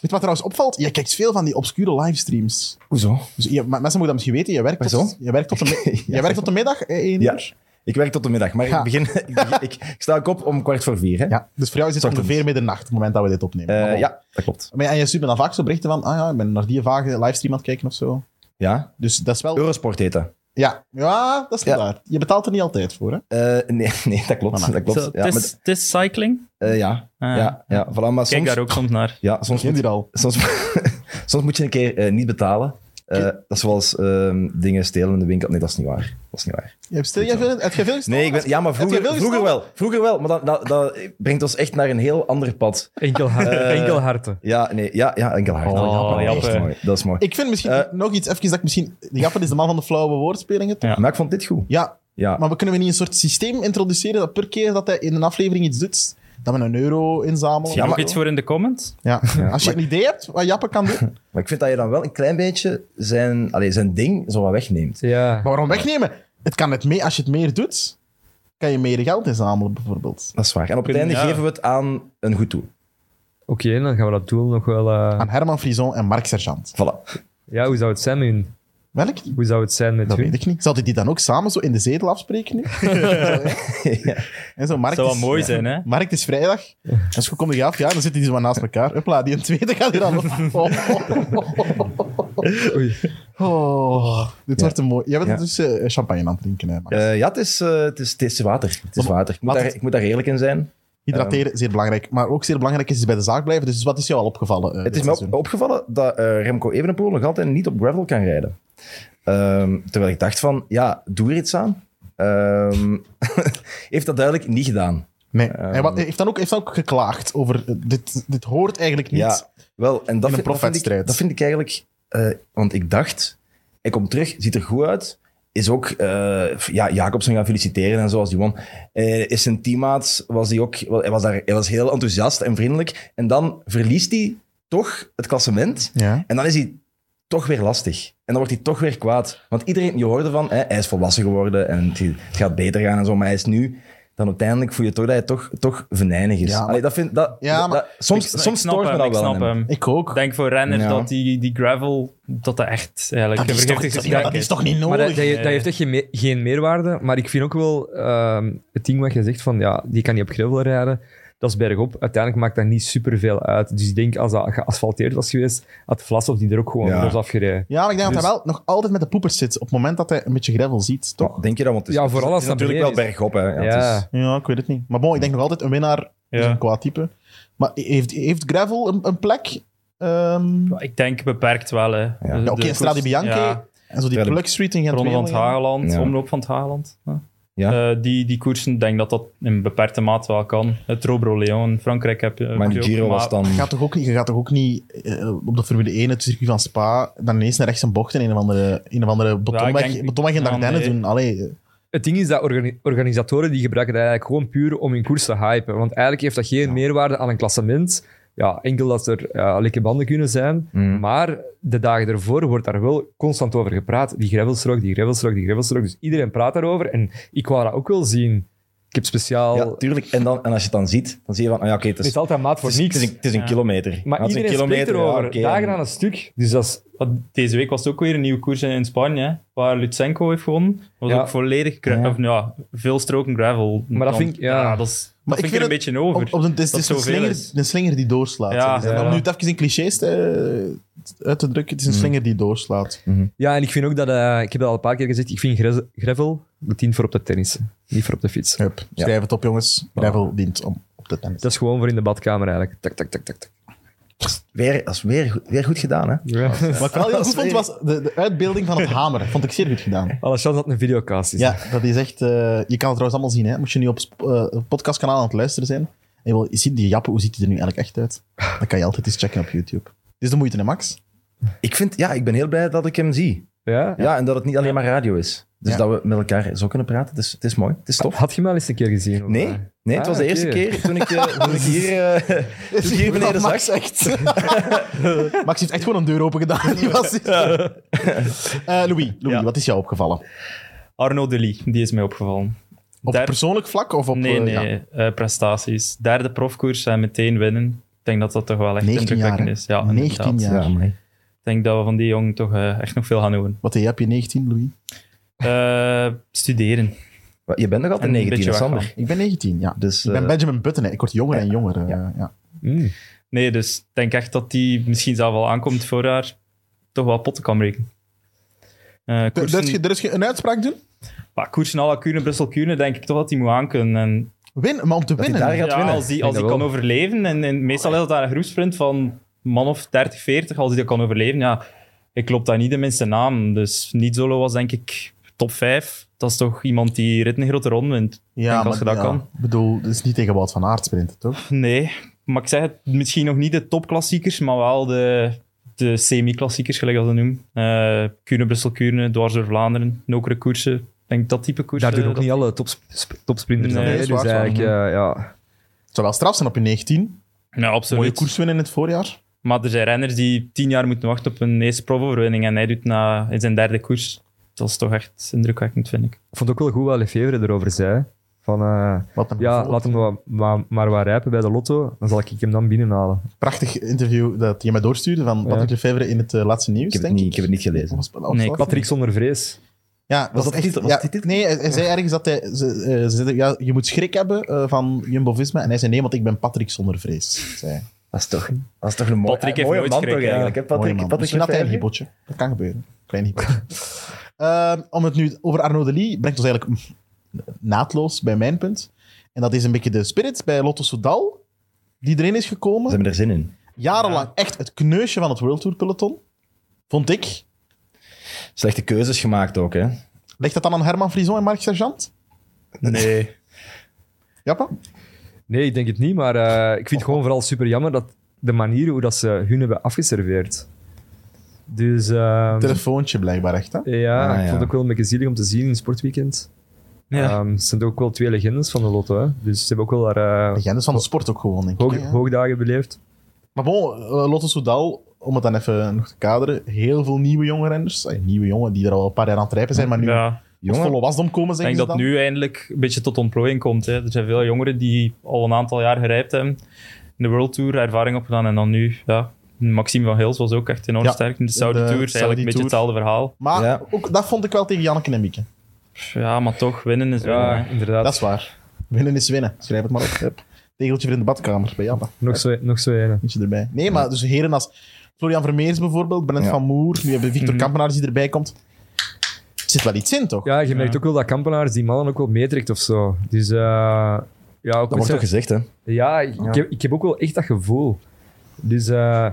B: Weet je wat trouwens opvalt? Je kijkt veel van die obscure livestreams.
D: Hoezo?
B: Dus je, maar mensen moeten dat misschien weten. Je werkt
D: Waarom?
B: tot, je werkt tot, de, mi- je werkt tot de middag, eh, één
D: Ja.
B: uur.
D: Ik werk tot de middag, maar
B: Ja.
D: ik, begin, ik, begin- ik, ik sta ook op om kwart voor vier. Hè?
B: Ja. Dus voor jou is het
D: Ochtends.
B: ongeveer middernacht, het moment dat we dit opnemen.
D: Eh,
B: Maar bon.
D: ja, dat klopt.
B: Maar ja, en je stuurt me dan vaak zo berichten van, ah ja, ik ben naar die vage livestream aan het kijken of zo.
D: Ja.
B: Dus dat is wel...
D: Eurosport heet dat.
B: Ja, ja dat is niet
D: Ja.
B: waar. Je betaalt er niet altijd voor, hè?
D: Eh, nee, nee, dat klopt.
B: Voilà.
D: Dat klopt.
E: Zo,
D: ja,
E: het is-
D: maar-
E: het is cycling.
D: eh, ja,
E: Ah.
D: ja, ja, voilà, maar
E: Kijk
D: soms,
E: daar ook soms naar.
D: ja, soms,
B: Begint
D: moet,
B: hier al.
D: soms, soms moet je een keer eh, niet betalen. Eh, dat is zoals ehm, dingen stelen in de winkel. Nee, dat is niet waar. Dat is niet waar.
B: Je hebt stil, jij veel, heb jij veel gestolen?
D: Nee, ik ben, ja, maar
B: Heb jij
D: vroeger,
B: veel
D: vroeger
B: gestolen?
D: wel. Vroeger wel, maar dat, dat, dat brengt ons echt naar een heel ander pad.
B: Eh.
C: Enkel, har- enkel harten.
D: Ja, nee, ja, ja enkel hard.
E: Oh,
D: dat, is
E: Jappe.
D: mooi. dat is mooi.
B: Ik vind misschien
D: Eh.
B: nog iets, even dat ik misschien... Die Gappen is de man van de flauwe woordspelingen, toch?
E: Ja.
D: Maar ik vond dit goed.
B: Ja,
D: Ja,
B: maar we kunnen we niet een soort systeem introduceren dat per keer dat hij in een aflevering iets doet, dat we een euro inzamelen?
D: Ja,
E: Ja,
D: maar-
E: Nog iets voor in de comments?
B: Ja. Als je een idee hebt wat Jappe kan doen, maar
D: maar ik vind dat je dan wel een klein beetje zijn, allez, zijn ding zo wat wegneemt.
C: Ja.
B: waarom wegnemen? Het kan het mee, als je het meer doet, kan je meer geld inzamelen, bijvoorbeeld.
D: Dat is waar. En op het einde
E: Ja.
D: geven we het aan een goed toe.
C: Oké, dan gaan we dat doel nog wel... eh,
B: Aan Herman Frison en Mark Sergeant.
D: Voilà.
C: Ja, hoe zou het zijn met hun?
B: Welk?
C: Hoe zou het zijn met
B: Dat
C: hun?
B: weet ik niet. Zouden die dan ook samen zo in de zetel afspreken nu? Zo, hè? En zo, Mark
E: Dat zou
B: is-
E: wel mooi zijn, hè?
B: Mark, het is vrijdag. En zo kom je af. Ja, dan zitten die zo wat naast elkaar. Hopla, die een tweede gaat hier aan. Oh,
C: Oei.
B: Oh, dit
D: Ja.
B: wordt een mooi... Jij bent
D: Ja.
B: dus eh, champagne aan het drinken, hè, Max.
D: Eh, ja, het is, eh, het, is, het is water. Het is
B: Maar-
D: water. Ik moet,
B: laat
D: daar,
B: het-
D: ik moet daar eerlijk in zijn.
B: Hydrateren,
D: ehm.
B: zeer belangrijk. Maar ook zeer belangrijk is bij de zaak blijven. Dus wat is jou al opgevallen?
D: Het
B: eh, dit
D: is me op-
B: seizoen?
D: opgevallen dat eh, Remco Evenepoel nog altijd niet op gravel kan rijden. Ehm, terwijl ik dacht van, ja, doe er iets aan. Ehm, heeft dat duidelijk niet gedaan.
B: Nee.
D: Ehm.
B: Hij wa- hij heeft dan, ook, heeft dan ook geklaagd over... eh, dit, dit hoort eigenlijk niet.
D: Ja, wel, en dat, vind,
B: een
D: dat, vind ik,
B: profwedstrijd.
D: dat vind ik eigenlijk... eh, want ik dacht, hij komt terug, ziet er goed uit. Is ook eh, ja, Jacobsen gaan feliciteren en zo als die won. Eh, is zijn teammaat, was die ook, wel, hij, was daar, hij was heel enthousiast en vriendelijk. En dan verliest hij toch het klassement.
B: Ja.
D: En dan is hij toch weer lastig. En dan wordt hij toch weer kwaad. Want iedereen, je hoorde van, hè, hij is volwassen geworden en het het gaat beter gaan en zo. Maar hij is nu, dan uiteindelijk voel je toch dat hij toch, toch venijnig is.
B: Ja, maar-
D: Allee, dat vind, dat,
B: Ja,
D: dat-
B: maar-
D: soms
E: Ik-
D: soms
E: ik snap
D: stoort me
E: hem,
D: dat
E: ik
D: wel
E: snap
D: aan hem.
E: hem.
B: Ik ook.
E: Ik denk voor renners
D: Ja.
E: dat die, die gravel dat dat echt eigenlijk
B: Dat is, toch,
E: vergiftigd
B: dat,
E: is.
B: ja, dat is toch niet
C: Maar
D: Oh,
B: nodig?
C: dat, dat, dat heeft echt geen, me- geen meerwaarde. Maar ik vind ook wel ehm, het ding wat je zegt van ja, die kan niet op gravel rijden. Dat is bergop. Uiteindelijk maakt dat niet superveel uit. Dus ik denk als dat geasfalteerd was geweest, had Vlasov die er ook gewoon
D: Ja.
C: los afgereden.
B: Ja, maar ik denk dat
D: Dus-
B: hij wel nog altijd met de poepers zit op het moment dat hij een beetje gravel ziet, toch?
D: Denk je dat? Want het is,
C: Ja, vooral
D: het is
C: als dat
D: natuurlijk wel
C: beneden
D: bergop. Hè. Ja,
C: Ja,
D: het is-
B: Ja, ik weet het niet. Maar bon, ik denk nog altijd een winnaar is
E: Ja.
B: een qua type. Maar heeft, heeft gravel een, een plek? Ehm,
E: Ja, Ik denk beperkt wel. hè. De-
D: Ja,
E: de
B: oké,
E: koers-
B: Strade Bianche.
E: Ja,
B: en zo die
D: Verder.
B: Plug Street in gent
E: Ronde van het
B: Wevelgem.
E: Hageland,
D: Ja.
E: omloop van het Hageland. Ja.
D: Ja.
E: Eh, die, die koersen, ik denk dat dat in beperkte mate wel kan. Het Robro Leon, in Frankrijk heb je...
D: Maar
E: heb je
D: die
E: ook,
D: Giro was
E: maar-
D: dan...
B: Je gaat toch ook, niet- je gaat toch ook niet eh, op de Formule 1, het circuit van Spa, dan ineens naar rechts een bocht in een of andere, een of andere betonweg,
E: denk-
B: betonweg in
E: ja,
B: Dardenne
E: nee.
B: doen. Allee, eh,
C: Het ding is dat organi- organisatoren die gebruiken dat eigenlijk gewoon puur om hun koers te hypen. Want eigenlijk heeft dat geen meerwaarde aan een klassement. Ja, enkel dat er ja, lekke banden kunnen zijn.
D: Mm.
C: Maar de dagen ervoor wordt daar wel constant over gepraat. Die gravelstrook, die gravelstrook, die gravelstrook. Dus iedereen praat daarover. En ik wou dat ook wel zien. Ik heb speciaal...
D: Ja, tuurlijk. En, dan, en als je het dan ziet, dan zie je van... ah ja, oké, het
C: het
D: is
C: is altijd maat voor
D: Het is,
C: niks.
D: het is een, het is een
E: Ja.
D: kilometer.
C: maar
D: Ja, het is een
C: iedereen spreekt
D: ja,
C: erover.
D: oké.
C: Dagen aan een stuk. Dus dat is...
E: Want Deze week was het ook weer een nieuwe koers in Spanje, hè, waar Lutsenko heeft gewonnen. was
C: Ja.
E: ook volledig gra-
D: Ja.
E: Of, ja, veel stroken gravel.
C: Maar dat
E: Dan-
C: vind ik- ja.
E: dat, is, dat
B: Maar
E: vind
B: ik
E: ik er een
B: vind
E: beetje over.
B: op, op de, het is, het is
E: Dat
B: een,
E: zoveel
B: slinger,
E: is.
B: een slinger die doorslaat. hè.
E: Ja,
B: Dus
E: ja.
B: Om nu het even in clichés te, uit te drukken, het
E: Hmm.
B: is een slinger die doorslaat.
C: Ja, en ik vind ook dat... eh, ik heb dat al een paar keer gezegd. Ik vind gre- gravel dient voor op de tennis. Niet voor op de fiets.
B: Hup, schrijf het op, jongens. Gravel dient om op de tennis.
C: Dat is gewoon voor in de badkamer eigenlijk. Tak, tak, tak, tak. tak.
D: Weer, dat is weer, goed- weer goed gedaan, hè?
B: Wat ik wel heel
D: Dat
B: goed
D: is
B: vond, was de, de uitbeelding van het hamer. Vond ik zeer goed gedaan.
C: Alessandro had een videocast. is.
B: Ja, dat is echt... eh, je kan het trouwens allemaal zien, hè. Moest je nu op sp- eh, een podcastkanaal aan het luisteren zijn, en je wil zien die jappen, hoe ziet die er nu eigenlijk echt uit? Dan kan je altijd eens checken op YouTube. Dit is de moeite, hè, Max?
D: Ik, vind, ja, ik ben heel blij dat ik hem zie.
C: ja?
D: Ja, en dat het niet alleen maar radio is. Dus
B: Ja.
D: dat we met elkaar zo kunnen praten. Het is, het is mooi. Het is tof.
C: Had je hem al eens een keer gezien? of
D: Nee,
C: wat?
D: nee het
C: Ah,
D: was de
C: oké.
D: eerste keer toen ik, eh, toen ik hier, eh, toen ik hier beneden zag.
B: Max echt. Max heeft echt gewoon een deur open gedaan. Die was Eh, Louis, Louis
E: Ja.
B: wat is jou opgevallen?
E: Arnaud Delis, die is mij opgevallen.
B: Op
E: Daar-
B: persoonlijk vlak of op...
E: nee,
B: eh,
E: nee,
B: ja.
E: eh, prestaties. Derde profkoers en meteen winnen. Ik denk dat dat toch wel echt
B: 19
E: indrukwekkend
B: jaar,
E: is. Ja,
B: 19
E: inderdaad.
B: jaar.
D: Ja, amai.
E: Ik denk dat we van die jongen toch eh, echt nog veel gaan doen.
B: Wat heb je, 19, Louis?
E: Eh, studeren.
D: Wat, Je bent nog altijd
E: En een
D: 19,
E: beetje
D: hè, Sander.
E: weggaan.
B: Ik ben 19, ja.
D: Dus,
B: ik ben
D: eh,
B: Benjamin Button, hè. ik word jonger en jonger. eh, ja.
C: Mm.
E: Nee, dus ik denk echt dat die misschien zelf al aankomt voor haar toch wel potten kan breken. Eh,
B: Er,
E: koersen-
B: er is ge- er is ge- een uitspraak doen?
E: Maar koersen à la Kuurne, Brussel-Kuurne, denk ik toch dat hij moet aankunnen. En
B: Win, maar om te
D: Dat hij
B: winnen.
D: daar gaat
E: ja,
D: winnen.
E: als die,
C: Ik
E: als
C: denk
E: die
C: dat
E: kan
C: wel.
E: overleven, en, en meestal is dat daar een groepsprint van man of 30, 40, als hij dat kan overleven, ja, ik loop daar niet de minste naam. Dus niet solo was denk ik top 5. Dat is toch iemand die rit een grote ronde wint.
B: Ja,
E: denk als je dat
B: ja,
E: kan.
B: Ik bedoel, het is niet tegen Wout van Aert sprinten, toch?
E: Nee, maar ik zeg het, misschien nog niet de topklassiekers, maar wel de, de semi-klassiekers, gelijk dat ze noemen. Eh Kuurne, Brussel, Kuurne, dwars door Vlaanderen, nokere koersen. Ik denk dat type koersen.
C: Daar doen ook
E: eh, dat-
C: niet alle tops- sp- topsprinters
E: Nee,
C: aan mee,
B: dat is
C: Dus
B: waar, zo.
C: eigenlijk, eh, ja.
B: Het zou wel straf zijn op je 19.
E: Ja,
B: Mooie
E: absoluut.
B: koers winnen in het voorjaar.
E: Maar er zijn renners die tien jaar moeten wachten op een eerste profoverwinning en hij doet na, in zijn derde koers. Dat is toch echt indrukwekkend, vind ik.
C: Ik vond ook wel goed wat Lefevre erover zei. Van, eh,
B: Wat een
C: ja,
B: bijvoorbeeld.
C: laat hem maar, maar, maar wat rijpen bij de lotto, dan zal ik hem dan binnenhalen.
B: Prachtig interview dat je mij doorstuurde van Patrick Lefevre in het eh, laatste nieuws,
D: Ik heb, het
B: denk
D: niet, ik heb het niet gelezen.
B: Was- was-
E: Nee,
B: was-
C: Patrick zonder vrees.
B: Ja, was,
D: dat
B: echt,
D: titel- was
B: ja,
D: dat die titel?
B: Nee, hij, hij zei ergens dat hij... Ze, eh, ze zeiden, ja, je moet schrik hebben eh, van Jumbo-Visma. En hij zei, nee, want ik ben Patrick zonder vrees. Zei. hij.
D: Dat is toch, dat is toch een mooi, een
E: Patrick heeft
D: mooie
E: nooit
D: man toch
E: schrik, ja.
D: eigenlijk. hè,
B: Mooi
D: Patrick,
B: man.
D: Patrick
B: Misschien had hij een
D: Lefevre?
B: hippotje. Dat kan gebeuren. Klein hippotje. Ehm, om het nu over Arnaud Delis brengt ons eigenlijk mm, naadloos bij mijn punt. En dat is een beetje de spirit bij Lotto Soudal, die erin is
D: Ze
B: gekomen.
D: hebben er zin in.
B: Jarenlang echt het kneusje van het World Tour peloton, vond ik.
D: Slechte keuzes gemaakt ook, hè?
B: Legt dat dan aan Herman Frison en Marc Sergeant?
E: Nee.
B: Jappa?
C: Nee, ik denk het niet, maar eh, ik vind het gewoon vooral super jammer dat de manier hoe dat ze hun hebben afgeserveerd. Dus ehm,
B: Telefoontje blijkbaar echt, hè?
C: ja,
D: Ah,
C: ik
D: ja.
C: vond het ook wel een beetje zielig om te zien in het sportweekend.
E: Ja.
C: Ehm, het zijn ook wel twee legendes van de lotto, hè. dus ze hebben ook wel daar eh,
B: Legendes van de sport ook gewoon, denk ik.
C: hoog-
B: hè, ja.
C: hoogdagen beleefd.
B: Maar bon, eh, Lotto Soudal, om het dan even nog te kaderen, heel veel nieuwe jonge renners. Eh, nieuwe jongen die er al een paar jaar aan het rijpen zijn, maar nu
E: ja.
B: jongen,
D: Jongen,
B: volle wasdom komen,
E: Ik
B: zeggen
E: denk
B: ze
E: dat
B: dan.
E: nu eindelijk een beetje tot ontplooiing komt. Hè. Er zijn veel jongeren die al een aantal jaar gerijpt hebben. In de World Tour ervaring opgedaan en dan nu ja, Maxime van Hils was ook echt enorm
B: Ja,
E: sterk in de Saudi
B: de
E: Tour. Eigenlijk
B: Saudi
E: een beetje
B: Tour.
E: hetzelfde verhaal.
B: Maar
D: Ja.
B: ook, dat vond ik wel tegen Janneke en Mieke.
E: Pff, Ja, maar toch, winnen is wel.
C: Ja, inderdaad.
B: Dat is waar. Winnen is winnen. Schrijf het maar op. Hup. Tegeltje voor in de badkamer bij Jabba.
C: Nog zo, nog zo een.
B: Eentje erbij. Nee, maar dus heren als Florian Vermeers bijvoorbeeld, Brent
D: Ja.
B: van Moer, nu hebben we
E: Mhm.
B: Victor Kampenaars die erbij komt. Er zit wel iets in, toch?
C: Ja, je merkt ook wel dat Kampenaars die mannen ook wel meetrekt of zo. Dus eh, ja, ook
D: Dat wordt
C: met
D: toch
C: zijn-
D: gezegd, hè?
C: ja, ik,
D: Ja.
C: Heb, ik heb ook wel echt dat gevoel. Dus eh,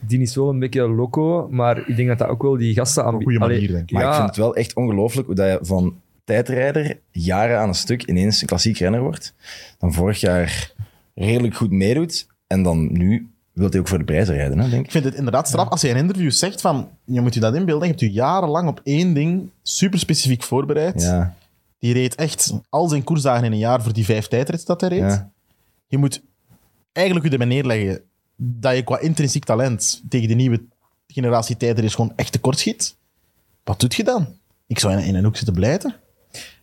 C: die is wel een beetje loco, maar ik denk dat dat ook wel die gasten aan
B: Op een goede manier, denk ik.
D: Maar
C: ja,
D: ik vind het wel echt ongelooflijk hoe dat je van tijdrijder jaren aan een stuk ineens een klassiek renner wordt. Dan vorig jaar redelijk goed meedoet. En dan nu wil hij ook voor de prijzen rijden, hè, denk
B: Ik
D: ik.
B: vind het inderdaad straf als je in interviews zegt van, je moet je dat inbeelden, je hebt je jarenlang op één ding super specifiek voorbereid.
D: Ja,
B: Die reed echt al zijn koersdagen in een jaar voor die vijf tijdrits dat hij reed.
D: ja.
B: Je moet eigenlijk je ermee neerleggen dat je qua intrinsiek talent tegen de nieuwe generatie tijdrijders gewoon echt tekort schiet. Wat doet je dan? Ik zou in, in een hoek zitten blijten.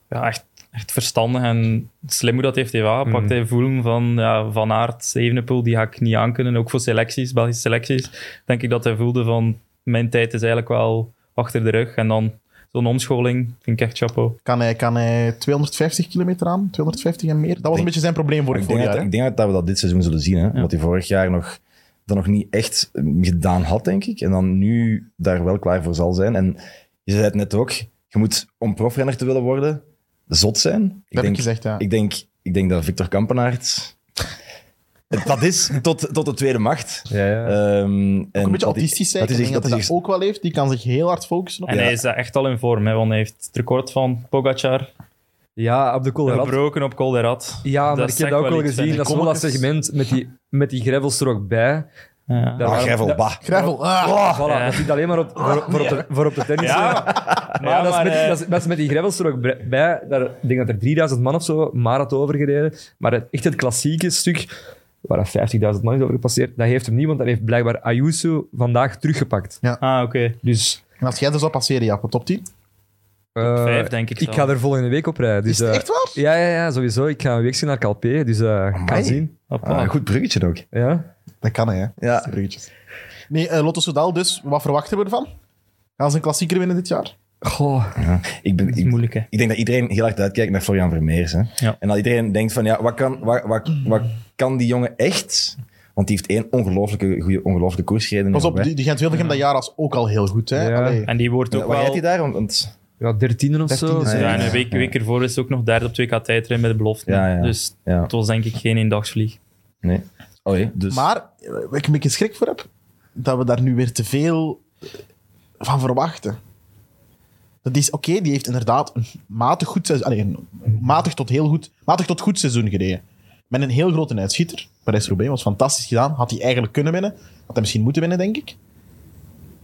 E: Ja, echt, echt verstandig en slim hoe dat heeft hij wel
B: Mm.
E: aangepakt. Hij voelde van ja, Van Aert, Evenepoel, die ga ik niet aankunnen. Ook voor selecties, Belgische selecties. Denk ik dat hij voelde van, mijn tijd is eigenlijk wel achter de rug. En dan zo'n omscholing, vind ik echt chapeau.
B: Kan hij, kan hij 250 kilometer aan? 250 en meer? Dat was een
D: Denk-
B: beetje zijn probleem
D: Maar
B: vorig
D: ik, denk
B: voorjaar.
D: dat,
B: hè?
D: ik denk dat we dat dit seizoen zullen zien. Hè? Wat hij vorig jaar nog, dat nog niet echt eh, gedaan had, denk ik. En dan nu daar wel klaar voor zal zijn. En je zei het net ook, je moet om profrenner te willen worden, zot zijn. Ik
B: Dat heb
D: denk,
B: ik gezegd, ja.
D: ik denk, ik denk dat Victor Kampenaert... Dat is tot, tot de tweede macht.
C: ja, ja.
D: Ehm, en
B: Ook een beetje
D: dat hij-
B: autistisch zijn.
D: Dat
B: Ik
D: is
B: denk
D: echt,
B: dat
D: dat
B: hij
D: hij
B: dat ook wel heeft. Die kan zich heel hard focussen op.
E: En
D: Ja.
E: hij is daar echt al in vorm, hè, want hij heeft het record van Pogacar
C: ja, op de Colorado.
E: gebroken op Colderat.
C: Ja, maar ik heb
E: zegt
C: dat ook
E: wel
C: wel
E: iets, vind
C: gezien.
E: ik.
C: Dat is wel dat
E: Kommetjes.
C: segment met die, met die gravels er ook bij.
E: Ja.
C: Daar
D: Ah,
C: waren-
D: Gravel,
C: dat-
D: bah.
B: Gravel. Ah.
C: Voilà,
E: Ja.
C: dat zit alleen maar op, voor, voor op de, voor op de tennis.
E: Ja,
C: maar,
E: Ja,
C: dat, is
E: maar,
C: met,
E: eh,
C: dat, is, dat is met die gravels er ook bre- bij. Daar, ik denk dat er 3000 man of zo marathon over gereden. Maar het, echt het klassieke stuk, waar dat 50.000 man is over gepasseerd, dat heeft hem niet, want dat heeft blijkbaar Ayuso vandaag teruggepakt.
E: Ah, oké.
C: Dus
B: En als jij er zou passeren, ja, op de top 10.
C: eh,
E: vijf, denk ik
C: ik
E: dan.
C: ga er volgende week op rijden. Dus,
B: Is het
C: eh,
B: echt waar?
C: Ja, ja, ja, sowieso. Ik ga een week zien naar Calpe, dus eh
D: Amai.
C: kan zien.
E: Hoppa.
D: Ah, goed bruggetje ook.
C: Ja.
B: Dat kan hij, hè.
D: Ja.
B: Bruggetjes. Nee, eh, Lotto Soudal dus. Wat verwachten we ervan? Gaan ze een klassieker winnen dit jaar?
C: Goh.
D: Ik, ben,
E: Dat is
D: ik,
E: moeilijk, hè.
D: ik denk dat iedereen heel hard uitkijkt naar Florian Vermeers. Hè?
E: Ja.
D: En dat iedereen denkt van, ja, wat kan, wat, wat, wat kan die jongen echt? Want die heeft één ongelooflijke, goede, ongelooflijke koers gereden.
B: Pas op,
D: Hè?
B: die, die Gent-Wilgem dat jaar was ook al heel goed, hè.
C: Ja.
B: Allee.
E: En die wordt ook
D: Waar rijdt
E: wel...
D: hij daar? Want, want-
C: Ja, dertienen of zo.
B: Dertiende,
C: Dus,
D: ja.
E: Ja, en een week, week ervoor is ze ook nog derde op 2K tijdrijden met de belofte.
D: Ja, ja.
E: Dus
D: ja,
E: het was denk ik geen eendagsvlieg.
D: nee. Oh, jee, dus
B: Maar, eh, waar ik een beetje schrik voor heb, dat we daar nu weer te veel eh, van verwachten. Dat is, oké, die heeft inderdaad een matig goed seizoen... allee, een matig tot heel goed... Matig tot goed seizoen gereden. Met een heel grote uitschieter. Parijs-Roubaix was fantastisch gedaan. Had hij eigenlijk kunnen winnen. Had hij misschien moeten winnen, denk ik.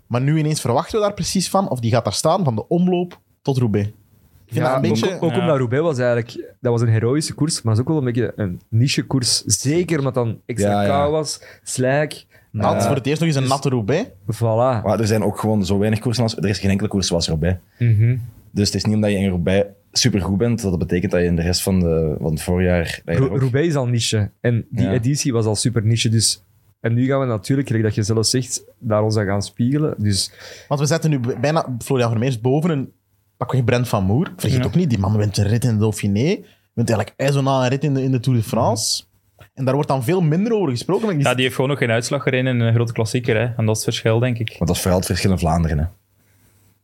B: Maar nu ineens verwachten we daar precies van. Of die gaat daar staan, van de omloop tot Roubaix. Ik vind
C: Ja,
B: dat een beetje...
C: Ook, ook
E: Ja.
C: omdat Roubaix was eigenlijk... Dat was een heroïsche koers, maar dat is ook wel een beetje een niche-koers. Zeker omdat dan extra
D: Ja, ja.
C: kou was, slijk,
B: nat,
C: nat.
B: voor het eerst nog eens een natte Roubaix.
C: Voilà.
D: maar er zijn ook gewoon zo weinig koersen als... Er is geen enkele koers zoals Roubaix.
C: Mhm.
D: Dus het is niet omdat je in Roubaix supergoed bent, dat dat betekent dat je in de rest van, de, van het voorjaar... dat je
C: Rou-
D: er ook-
C: Roubaix is al niche. En die
D: Ja.
C: editie was al super niche, dus... En nu gaan we natuurlijk, gelijk dat je zelf zegt, daar ons aan gaan spiegelen. Dus
B: Want we zetten nu bijna Florian Vermeers boven een pakweg Brent van Moer. Vergeet
E: Ja.
B: ook niet, die man wint een rit in de Dauphiné. Wint eigenlijk ijzona een rit in de, in de Tour de France. En daar wordt dan veel minder over gesproken. maar ik-
E: Ja, die heeft gewoon nog geen uitslag gereden in een grote klassieker. Hè. En dat is het verschil, denk ik.
D: Want dat is vooral het verschil in Vlaanderen. Hè.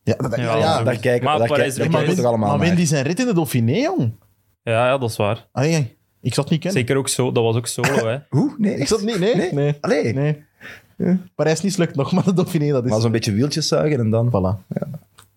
B: ja, dat- ja,
E: Ja,
B: ja.
E: dat-
D: Daar kijken
E: Maar
D: daar
E: Parijs-
D: kijken- daar kijken
B: maar
D: we
B: wint
D: toch allemaal
B: maar wint
D: naar.
B: die zijn rit in de Dauphiné, jong?
E: Ja, ja, dat is waar.
B: Allee, ik zou het niet kennen.
E: Zeker ook zo. Dat was ook solo, hè.
D: Hoe? Nee,
B: Ik zou het niet, nee. Nee. nee.
D: Allee.
B: Parijs niet lukt nog, maar de Dauphiné, dat is...
D: Maar zo'n beetje wieltjes zuigen en dan...
B: Voilà.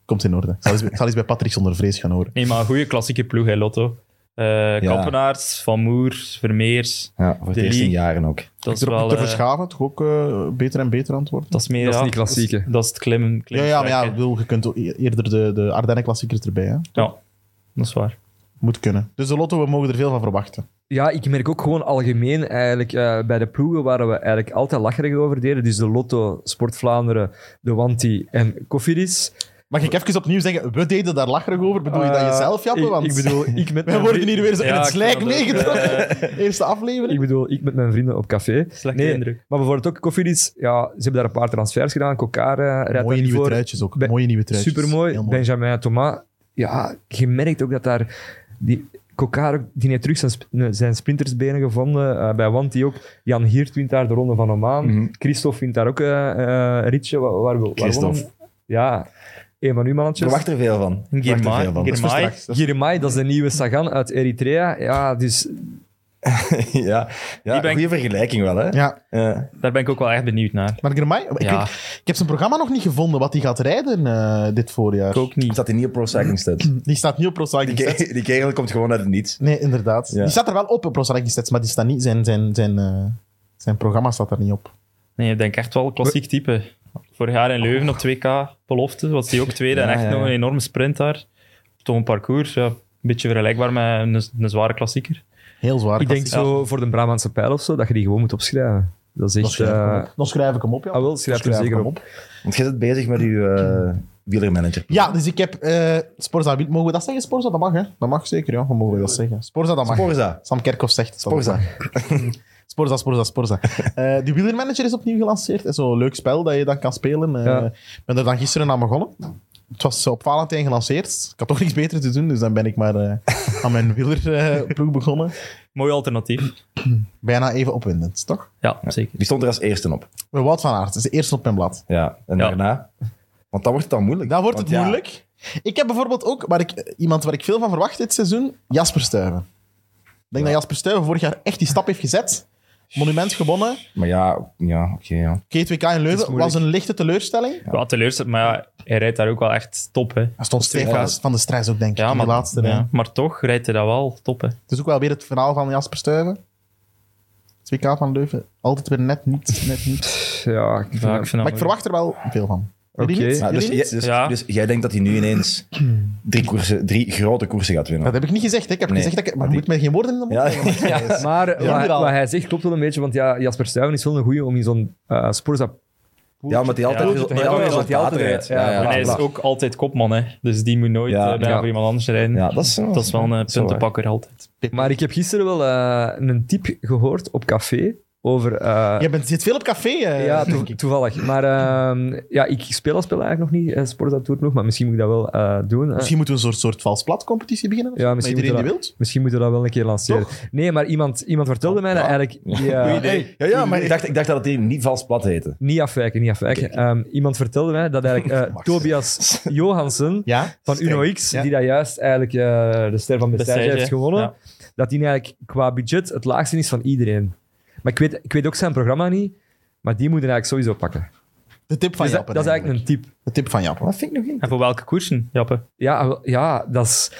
B: Komt in orde. Ik zal eens, ik zal eens bij Patrick zonder vrees gaan horen.
E: Nee, maar een goede klassieke ploeg, hè, Lotto. Eh Kampenaars, Van Moer, Vermeers.
D: Ja, voor het
E: De
D: eerst in
E: Lee.
D: jaren ook.
E: Dat is
B: Ik
E: wel...
B: te
E: eh,
B: verschaven, toch ook eh, beter en beter aan het worden.
E: dat is meer...
C: Dat is
E: ja,
C: niet klassieke.
E: Dat is, dat is het klimmen.
B: Ja,
E: klimmen
B: ja, maar ja, ik
E: strijken.
B: bedoel, je kunt ook e- eerder de, de Ardennen-klassiekers erbij, hè.
E: ja, dat is waar.
B: Moet kunnen. Dus de Lotto, we mogen er veel van verwachten.
C: Ja, ik merk ook gewoon algemeen eigenlijk eh, bij de ploegen waar we eigenlijk altijd lacherig over deden. Dus de Lotto, Sport Vlaanderen, de Wanti en Cofidis.
B: Mag ik even opnieuw zeggen, we deden daar lacherig over. Bedoel je dat
C: Eh,
B: jezelf, Jappe?
C: ik-
B: Want
C: Ik bedoel, ik met
B: wij
C: mijn
B: worden
C: vri-
B: hier weer zo in
E: Ja,
B: het
E: ik
B: slijk
E: snap het. Eh,
B: meegedrukt. Eerste aflevering.
C: Ik bedoel, ik met mijn vrienden op café.
E: Slechte
C: Nee,
E: indruk.
C: maar bijvoorbeeld ook Kofidis, ja, ze hebben daar een paar transfers gedaan. Kokar eh, rijdt
B: Mooie
C: daar
B: nieuwe
C: voor.
B: truitjes ook.
C: Bij-
B: Mooie nieuwe truitjes.
C: Supermooi.
B: Heel mooi.
C: Benjamin Thomas. Ja, je merkt ook dat daar... Die, Kokar, ook, die heeft terug zijn, sp- nee, zijn sprintersbenen gevonden. Eh, bij Wanti ook. Jan Hiert wint daar de Ronde van Oman. Christophe wint daar ook eh eh ritje. Waar, waar, waar
D: Christophe.
C: wonnen- Ja. Een van uw
D: Ik
C: mannetjes.
D: wacht er veel van. Ik wacht er
E: Girmay.
D: veel van.
E: Girmay.
C: Girmay, dat is de nieuwe Sagan uit Eritrea. Ja, dus
D: ja, ja
E: Die ben-
D: goede vergelijking wel, hè?
B: Ja,
D: Ja.
E: Daar ben ik ook wel echt benieuwd naar.
B: maar Germay, ik,
E: Ja.
B: weet- ik heb zijn programma nog niet gevonden wat hij gaat rijden eh, dit voorjaar.
E: Ik ook
D: Ik
E: niet.
D: zat in nieuwe Pro Cycling Stats.
B: Die staat niet op Pro
D: Die,
B: Cycling Stats.
D: ke- die kerel komt gewoon uit het niets.
B: Nee, inderdaad.
D: Ja.
B: Die staat er wel op op Pro Cycling Stats, maar die staat niet, zijn, zijn, zijn, eh, zijn programma staat er niet op.
E: Nee, ik denk echt wel klassiek type. Vorig jaar in Leuven op 2K belofte was die ook tweede en
D: Ja,
E: echt
D: ja,
E: nog een
D: ja.
E: enorme sprint daar. Toch een parcours, ja, een beetje vergelijkbaar met een, een zware klassieker.
B: Heel zwaar.
C: ik denk
B: klassiek.
C: zo voor de Brabantse pijl of zo, dat je die gewoon moet opschrijven. Dat is
B: Dan
C: echt...
B: schrijf, ik hem
C: eh,
B: op. Dan schrijf ik hem op, ja.
C: ah, wel, schrijf er zeker op.
D: Want jij zit bezig met uw eh wielermanager.
B: Ja, dus ik heb eh Sporza. Mogen we dat zeggen, Sporza? Dat mag, hè? Dat mag zeker, ja. We mogen dat zeggen. Sporza, dat mag.
D: Sporza.
B: Sam Kerkhoff zegt het.
D: Sporza.
B: Sporza, Sporza, Sporza. Eh de wielermanager is opnieuw gelanceerd. Dat is Zo'n leuk spel dat je dan kan spelen. Eh,
C: Ja.
B: Ik ben er dan gisteren aan begonnen. Het was op Valentijn gelanceerd. Ik had toch niks beter te doen, dus dan ben ik maar eh, aan mijn wielerploeg begonnen.
E: Mooi alternatief.
B: Bijna even opwindend, toch?
E: Ja, zeker.
D: Die stond er als eerste op.
B: Wout van Aert is de eerste op mijn blad.
D: Ja. En
E: Ja.
D: daarna? Want dan wordt het dan moeilijk.
B: Dan wordt het
D: Want ja,
B: moeilijk. Ik heb bijvoorbeeld ook waar ik, eh, iemand waar ik veel van verwacht dit seizoen, Jasper Stuyven. Ik denk dat Jasper Stuyven vorig jaar echt die stap heeft gezet. Monument gewonnen.
D: Maar ja, ja oké. ja.
B: K2K in Leuven was een lichte teleurstelling.
E: Ja, teleurstellend, maar ja, hij rijdt daar ook wel echt top, hè.
B: Hij stond stijf
D: Ja.
B: van- van de stress ook, denk ik.
E: Ja,
B: in
E: maar,
B: de laatste rij.
E: ja, maar toch rijdt hij dat wel top, hè.
B: Het is ook wel weer het verhaal van Jasper Stuyven. 2K van Leuven. Altijd weer net niet. Net niet.
C: Ja, ik vind dat-
E: Ja, ik vind
B: Maar
E: dat
B: ik
E: mooi.
B: verwacht er wel veel van. Jullie
C: Oké.
B: niet?
D: Maar
B: Jullie
D: dus,
B: niet?
D: jij- dus,
E: Ja.
D: dus jij denkt dat hij nu ineens drie, koersen, drie grote koersen gaat winnen?
B: Dat heb ik niet gezegd. hè. Ik heb
D: Nee.
B: gezegd dat ik... Maar je
D: Maar
B: moet mij geen woorden in de mond
D: Ja,
B: leggen.
C: Maar
B: Ja.
C: wat, wat hij zegt klopt wel een beetje, want ja, Jasper Stuyven is wel een goeie om in zo'n eh Sporza...
D: ja, omdat hij altijd,
E: Ja,
D: resul-
E: dat
D: die altijd
E: hij
D: resultaten
C: altijd
D: rijdt.
C: rijdt. Ja,
E: En
C: ja,
E: hij is
C: ja.
E: ook altijd kopman, hè. Dus die moet nooit
D: Ja.
E: eh, bijna
C: Ja.
E: voor iemand anders rijden.
D: Ja, dat is, zo.
E: Dat is wel een eh,
D: Dat is wel waar.
E: puntenpakker altijd.
C: Maar ik heb gisteren wel eh, een tip gehoord op café over... eh,
B: Je bent, zit veel op café. eh,
C: ja, to-
B: denk ik.
C: toevallig. Maar ehm, ja, ik speel dat spel eigenlijk nog niet, eh, Sporza Tour nog, maar misschien moet ik dat wel eh, doen. eh.
B: Misschien moeten we een soort, soort vals plat competitie beginnen. of
C: Ja,
B: zo,
C: misschien
B: met iedereen die
C: moeten
B: wilt.
C: Misschien moeten we dat wel een keer lanceren. Nee, maar iemand, iemand vertelde mij dat eigenlijk... die, eh,
D: idee. Ja, ja maar ik dacht, ik dacht dat hij niet vals plat heette.
C: Niet afwijken, niet afwijken. Ehm, iemand vertelde mij dat eigenlijk eh, Tobias Johansen
B: Ja?
C: van
B: Streng.
C: Uno X,
B: Ja.
C: die dat juist eigenlijk eh, de ster van Bethesda
E: Bethesda,
C: heeft gewonnen,
E: ja.
C: dat die eigenlijk qua budget het laagste is van iedereen. Maar ik weet, ik weet ook zijn programma niet, maar die moeten eigenlijk sowieso pakken.
B: De tip van
C: Dus dat,
B: Jappen.
C: dat is eigenlijk een tip.
B: De tip van Jappen.
D: Wat vind ik nog in?
E: En voor welke koersen, Jappe?
C: Ja, wel- ja dat, is,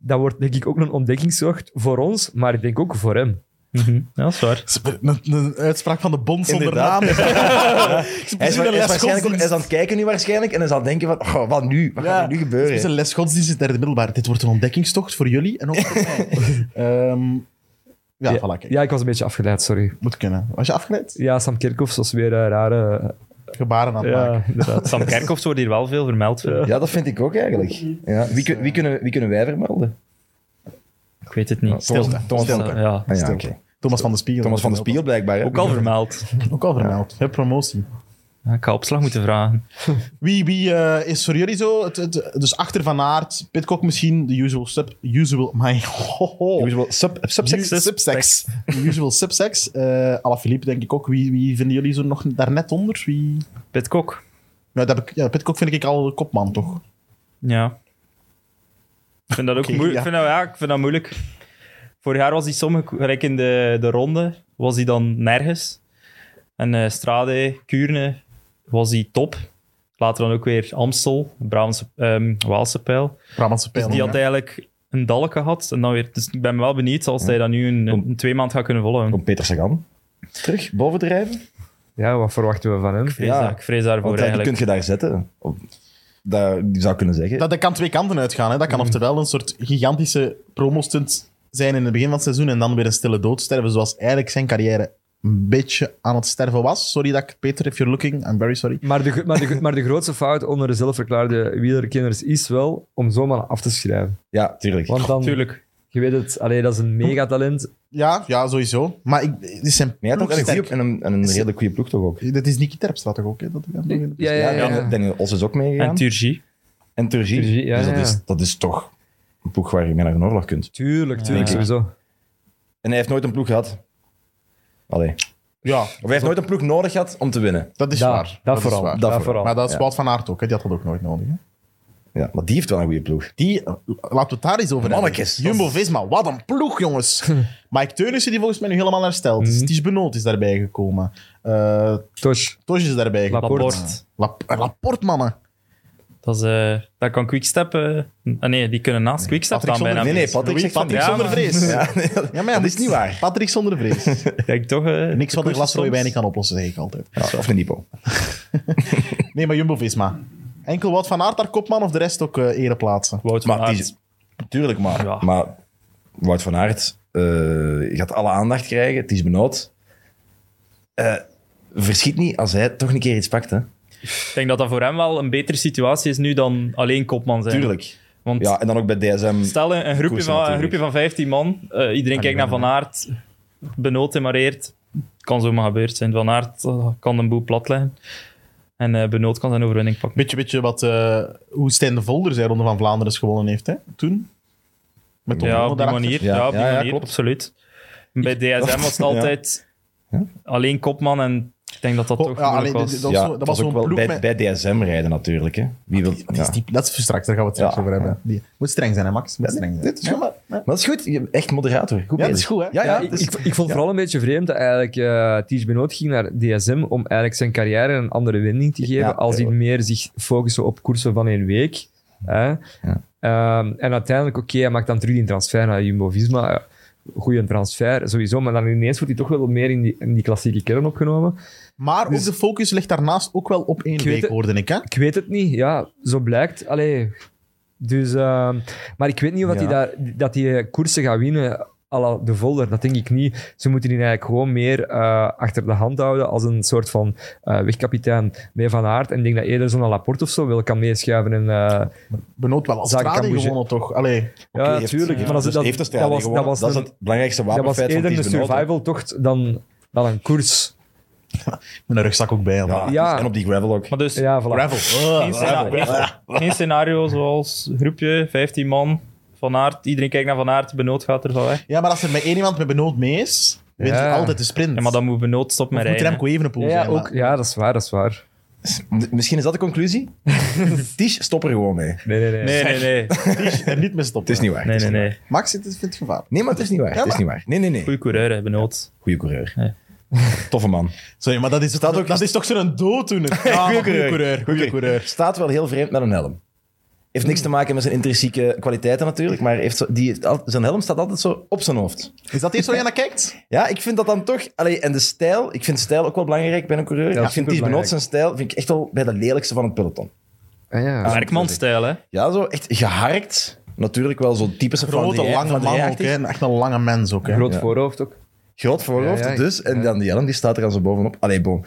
C: dat wordt denk ik ook een ontdekkingszocht voor ons, maar ik denk ook voor hem.
E: Ja, dat is waar.
B: Een, een uitspraak van de bond zonder
D: Inderdaad.
B: naam.
D: Hij is, wa- hij is waarschijnlijk ook- hij is aan het kijken nu waarschijnlijk en hij zal denken van, oh, wat nu? Wat gaat er nu gebeuren?
B: Het is een les godsdienst in het derde middelbaar. Dit wordt een ontdekkingstocht voor jullie en ook voor mij. Ehm, ja, voilà, kijk.
C: Ja, ik was een beetje afgeleid, sorry.
B: Moet kunnen. Was je afgeleid?
C: Ja, Sam Kerkhoff was weer een rare...
B: Gebaren aan het maken.
C: ja, inderdaad.
E: Sam Kerkhoff wordt hier wel veel vermeld. vind ik.
D: Ja, dat vind ik ook eigenlijk. Ja. Wie, kun- wie, kunnen, wie kunnen wij vermelden?
E: Ik weet het niet.
D: Thomas,
B: Stilte.
D: Thomas, van,
B: Stilte.
D: ah,
E: Ja.
D: ja,
B: Stilte.
D: oké.
B: Thomas van de Spiegel.
D: Thomas van de Spiegel blijkbaar. hè?
E: Ook al vermeld.
B: Ook al vermeld. Hè, promotie.
E: Ja, ik ga opslag moeten vragen.
B: Wie, wie eh, is voor jullie zo? Het, het- dus achter Van Aert, Pitcock misschien, de usual sub... Usual... My, ho, ho.
D: Usual Sub, subsex.
B: U- Subsex. De usual subsex. Eh Alaphilippe denk ik ook. Wie, wie vinden jullie zo nog daar net onder? Wie...
E: Pitcock.
B: Nou, dat heb ik, ja, Pitcock vind ik al de kopman, toch?
E: Ja. Ik vind dat ook
B: Oké,
E: moeilijk.
B: ja.
E: Ik vind dat, ja, ik vind dat moeilijk. Vorig jaar was hij sommige, ko- gelijk in de, de ronde, was hij dan nergens. En eh Strade, Kuurne, was hij top. Later dan ook weer Amstel, Brabantse, ehm, Waalse pijl.
B: Brabantse
E: Dus
B: pijl.
E: die
B: ja.
E: had eigenlijk een dalk gehad. En dan weer, dus ik ben wel benieuwd als hij dat nu een, een twee maand gaat kunnen volgen.
D: Komt Peter Sagan terug, bovendrijven?
C: Ja, wat verwachten we van hem?
E: Ik vrees,
D: Ja.
E: daar- ik vrees daarvoor
D: Want ja, die
E: eigenlijk.
D: kun je daar zetten. Op- daar, die zou kunnen zeggen.
B: Dat, dat kan twee kanten uitgaan. Hè. Dat
D: Mm.
B: kan oftewel een soort gigantische promostunt zijn in het begin van het seizoen en dan weer een stille dood sterven, zoals eigenlijk zijn carrière een beetje aan het sterven was. Sorry dat ik, Peter, if you're looking, I'm very sorry.
C: Maar de, gro- maar, de, maar de grootste fout onder de zelfverklaarde wielerkenners is wel om zomaar af te schrijven.
D: Ja, tuurlijk.
C: Want dan,
E: Tuurlijk.
C: je weet het, allee, dat is een megatalent.
B: Ja, ja sowieso. Maar ik, dit zijn
D: Maar jij had ook een,
B: ploegsterk-
D: goeie- en een, en een redelijk goede ploeg toch ook?
B: Dat is Niki Terpstra toch ook? Hè? Dat ik aan het begin-
C: Ja, ja, ja.
D: en Daniel Os is ook meegegaan.
E: En Turgie.
D: En Turgie.
C: Turgie, ja,
D: dus dat,
C: ja.
D: Is, dat is toch een ploeg waar je mee naar een oorlog kunt.
C: Tuurlijk, tuurlijk,
E: Ja.
C: sowieso.
D: En hij heeft nooit een ploeg gehad. Allee. Of
B: ja,
D: hij heeft nooit een ploeg nodig gehad om te winnen.
B: dat is
C: Dat-
B: waar.
C: dat vooral,
B: Is waar.
C: dat vooral.
B: Maar dat is
D: Ja.
B: Wout van Aert ook. Hè? Die had dat ook nooit nodig. Hè?
D: Ja, maar die heeft wel een goede ploeg.
B: Die, laten we het daar eens over
D: Mannekes, dat
B: hebben. Jumbo-Visma, wat een ploeg, jongens. Mike Teunissen, die volgens mij nu helemaal hersteld is. Ties Benoot is daarbij gekomen. Eh
C: Toch.
B: Tosh is daarbij gekomen.
C: Laporte.
E: Laporte.
B: Lap- eh, Laporte, mannen.
E: Dat is, eh, daar kan Quickstep... eh, ah nee, die kunnen naast Quickstep
B: Patrick
E: staan
B: Zonder-
E: bijna.
D: Nee, nee,
B: vrees.
D: Patrick zegt van
B: Patrick
D: niet.
B: zonder
E: maar-
B: vrees.
D: Ja, nee, dat-
B: Ja, maar ja,
D: dat
B: moet-
D: is niet waar.
B: Patrick zonder vrees.
E: Ik denk toch... eh,
B: Niks wat een
E: koers
B: glas rode
E: soms.
B: wijn niet kan oplossen, zeg ik altijd.
D: Ja, of een Nipo.
B: Nee, maar Jumbo-Visma. Enkel Wout van Aert daar kopman of de rest ook eh ereplaatsen.
E: Wout van
D: Maar
E: Aert.
D: die is- tuurlijk, maar,
E: Ja.
D: maar Wout van Aert eh, gaat alle aandacht krijgen. Het is benauwd. Eh, verschiet niet als hij toch een keer iets pakt, hè.
E: Ik denk dat dat voor hem wel een betere situatie is nu dan alleen kopman zijn.
D: Tuurlijk.
E: Want
D: Ja, en dan ook bij DSM.
E: stel een, een groepje
D: Koersen
E: van, een
D: natuurlijk.
E: groepje van 15 man, eh, iedereen kijkt naar Van Aert, Benoot en Mareert. Kan zomaar gebeurd zijn. Van Aert eh, kan een boel plat leggen. En eh Benoot kan zijn overwinning pakken.
B: Beetje, beetje wat, eh, hoe Stijn de Volder zijn Ronde van Vlaanderen is gewonnen heeft, hè? Toen. Met de
E: Ja,
B: handen
E: op die
B: daarachter.
E: manier.
D: Ja.
E: Ja, op die
D: Ja, ja,
E: manier,
D: klopt.
E: absoluut. Bij DSM was het altijd alleen kopman en ik denk dat dat
B: Oh,
E: toch
B: ja,
E: moeilijk
B: alleen
E: was.
B: dit- dit- Dat was zo- dat was
D: ook
B: zo'n
D: wel
B: ploeg
D: bij,
B: met-
D: bij DSM rijden natuurlijk. Hè. Wie wil,
B: Dat
D: ja.
B: is, die, dat is voor straks, daar gaan we het straks
D: Ja.
B: over hebben. Die, moet streng zijn, hè, Max? Moet
D: Ja,
B: streng zijn.
D: dit is
B: Ja,
D: gewoon-
B: maar-
D: Maar dat is goed, je- echt moderator. Goed
B: Ja, dat
D: bezig.
B: is goed, hè?
D: Ja, ja,
C: ik,
D: het is-
C: ik, ik vond het vooral een beetje vreemd dat eigenlijk eh Ties Benoot ging naar DSM om eigenlijk zijn carrière een andere wending te geven.
D: Ja,
C: als hij
D: tuurlijk.
C: meer zich focussen op koersen van één week. Hè? Ehm, en uiteindelijk, oké, hij maakt dan terug die transfer naar Jumbo-Visma. Ja, goeie transfer, sowieso. Maar dan ineens wordt hij toch wel meer in die, in die klassieke kern opgenomen.
B: Maar ook de focus ligt daarnaast ook wel op één
C: weet
B: week,
C: het-
B: hoorde ik. Hè?
C: Ik weet het niet, ja, zo blijkt. Allee, dus, ehm, maar ik weet niet of dat
D: Ja.
C: hij daar, dat die koersen gaat winnen à la de Volder. Dat denk ik niet. Ze moeten die eigenlijk gewoon meer eh, achter de hand houden als een soort van eh, wegkapitein bij Van Aert. En ik denk dat eerder zo'n Laporte of zo wel kan meeschuiven. En, eh,
B: Benoot wel als
C: Zaken
B: Strade
C: kan
B: gewonnen, toch? Allee,
D: Oké,
C: ja,
D: heeft-
C: natuurlijk.
D: ja,
C: maar dat,
D: dus
C: dat,
D: heeft de
C: dat,
D: strijd
C: was,
D: gewonnen.
C: dat was
D: dat is
C: een-
D: het belangrijkste
C: dat was
D: wapenfeit van
C: eerder een
D: Ties Benoot, hè.
C: survivaltocht dan, dan een koers.
B: met een rugzak ook bij.
D: Ja,
B: Ja.
C: Ja.
D: En op die gravel ook.
E: Maar dus
C: Ja, voilà.
B: Gravel.
E: geen, scena- geen- geen scenario zoals groepje, 15 man, Van Aert. Iedereen kijkt naar Van Aert, Benoot gaat er zo weg.
B: Ja, maar als er met één iemand met Benoot mee is, wint
C: Ja.
B: hij altijd de sprint.
E: Ja, maar dan moet Benoot stoppen
B: Of
E: met
B: moet
E: rijden.
B: Remco Evenepoel
C: Ja,
B: zijn.
C: ja, ook,
B: maar-
C: ja, dat is waar, dat is waar.
D: M- Misschien is dat de conclusie. Ties, stop er gewoon mee.
C: Nee, nee,
E: hè. Nee, nee, nee.
B: Er niet mee stoppen.
D: Het is niet waar.
E: Nee,
D: het is
E: nee,
D: niet waar.
E: nee.
B: Max, het is, vindt het gevaar.
D: Nee, maar het is niet waar. het is niet waar. Nee, nee, nee.
E: Goeie coureur, hè, Benoot.
D: Goeie coureur.
E: Ja.
D: Toffe man.
B: Sorry, maar dat is, dat ook, dat is toch zo'n dooddoener. Ja, Ah, goeie coureur. Goeie coureur.
D: Staat wel heel vreemd met een helm. Heeft niks te maken met zijn intrinsieke kwaliteiten natuurlijk, maar heeft zo, die, heeft al- zijn helm staat altijd zo op zijn hoofd.
B: Is dat eerst waar je naar kijkt?
D: Ja, ik vind dat dan toch... Allee, en de stijl, ik vind stijl ook wel belangrijk bij een coureur. ik vind Ties Benoot
C: superbelangrijk.
D: zijn stijl vind ik echt wel bij de lelijkste van het peloton.
C: Ah, ja.
E: Werkmanstijl, hè.
D: Ja, zo echt geharkt. Natuurlijk wel zo'n typische
B: Grote,
D: van die-
B: lange
D: van die
B: man ook.
D: jachtig.
B: Hè. Echt een lange mens ook. Hè.
C: Groot
D: Ja.
C: voorhoofd ook.
D: Groot voorhoofd
C: Ja, ja, ik-
D: dus. En dan die helm, die staat er aan zo bovenop. Allee, boom.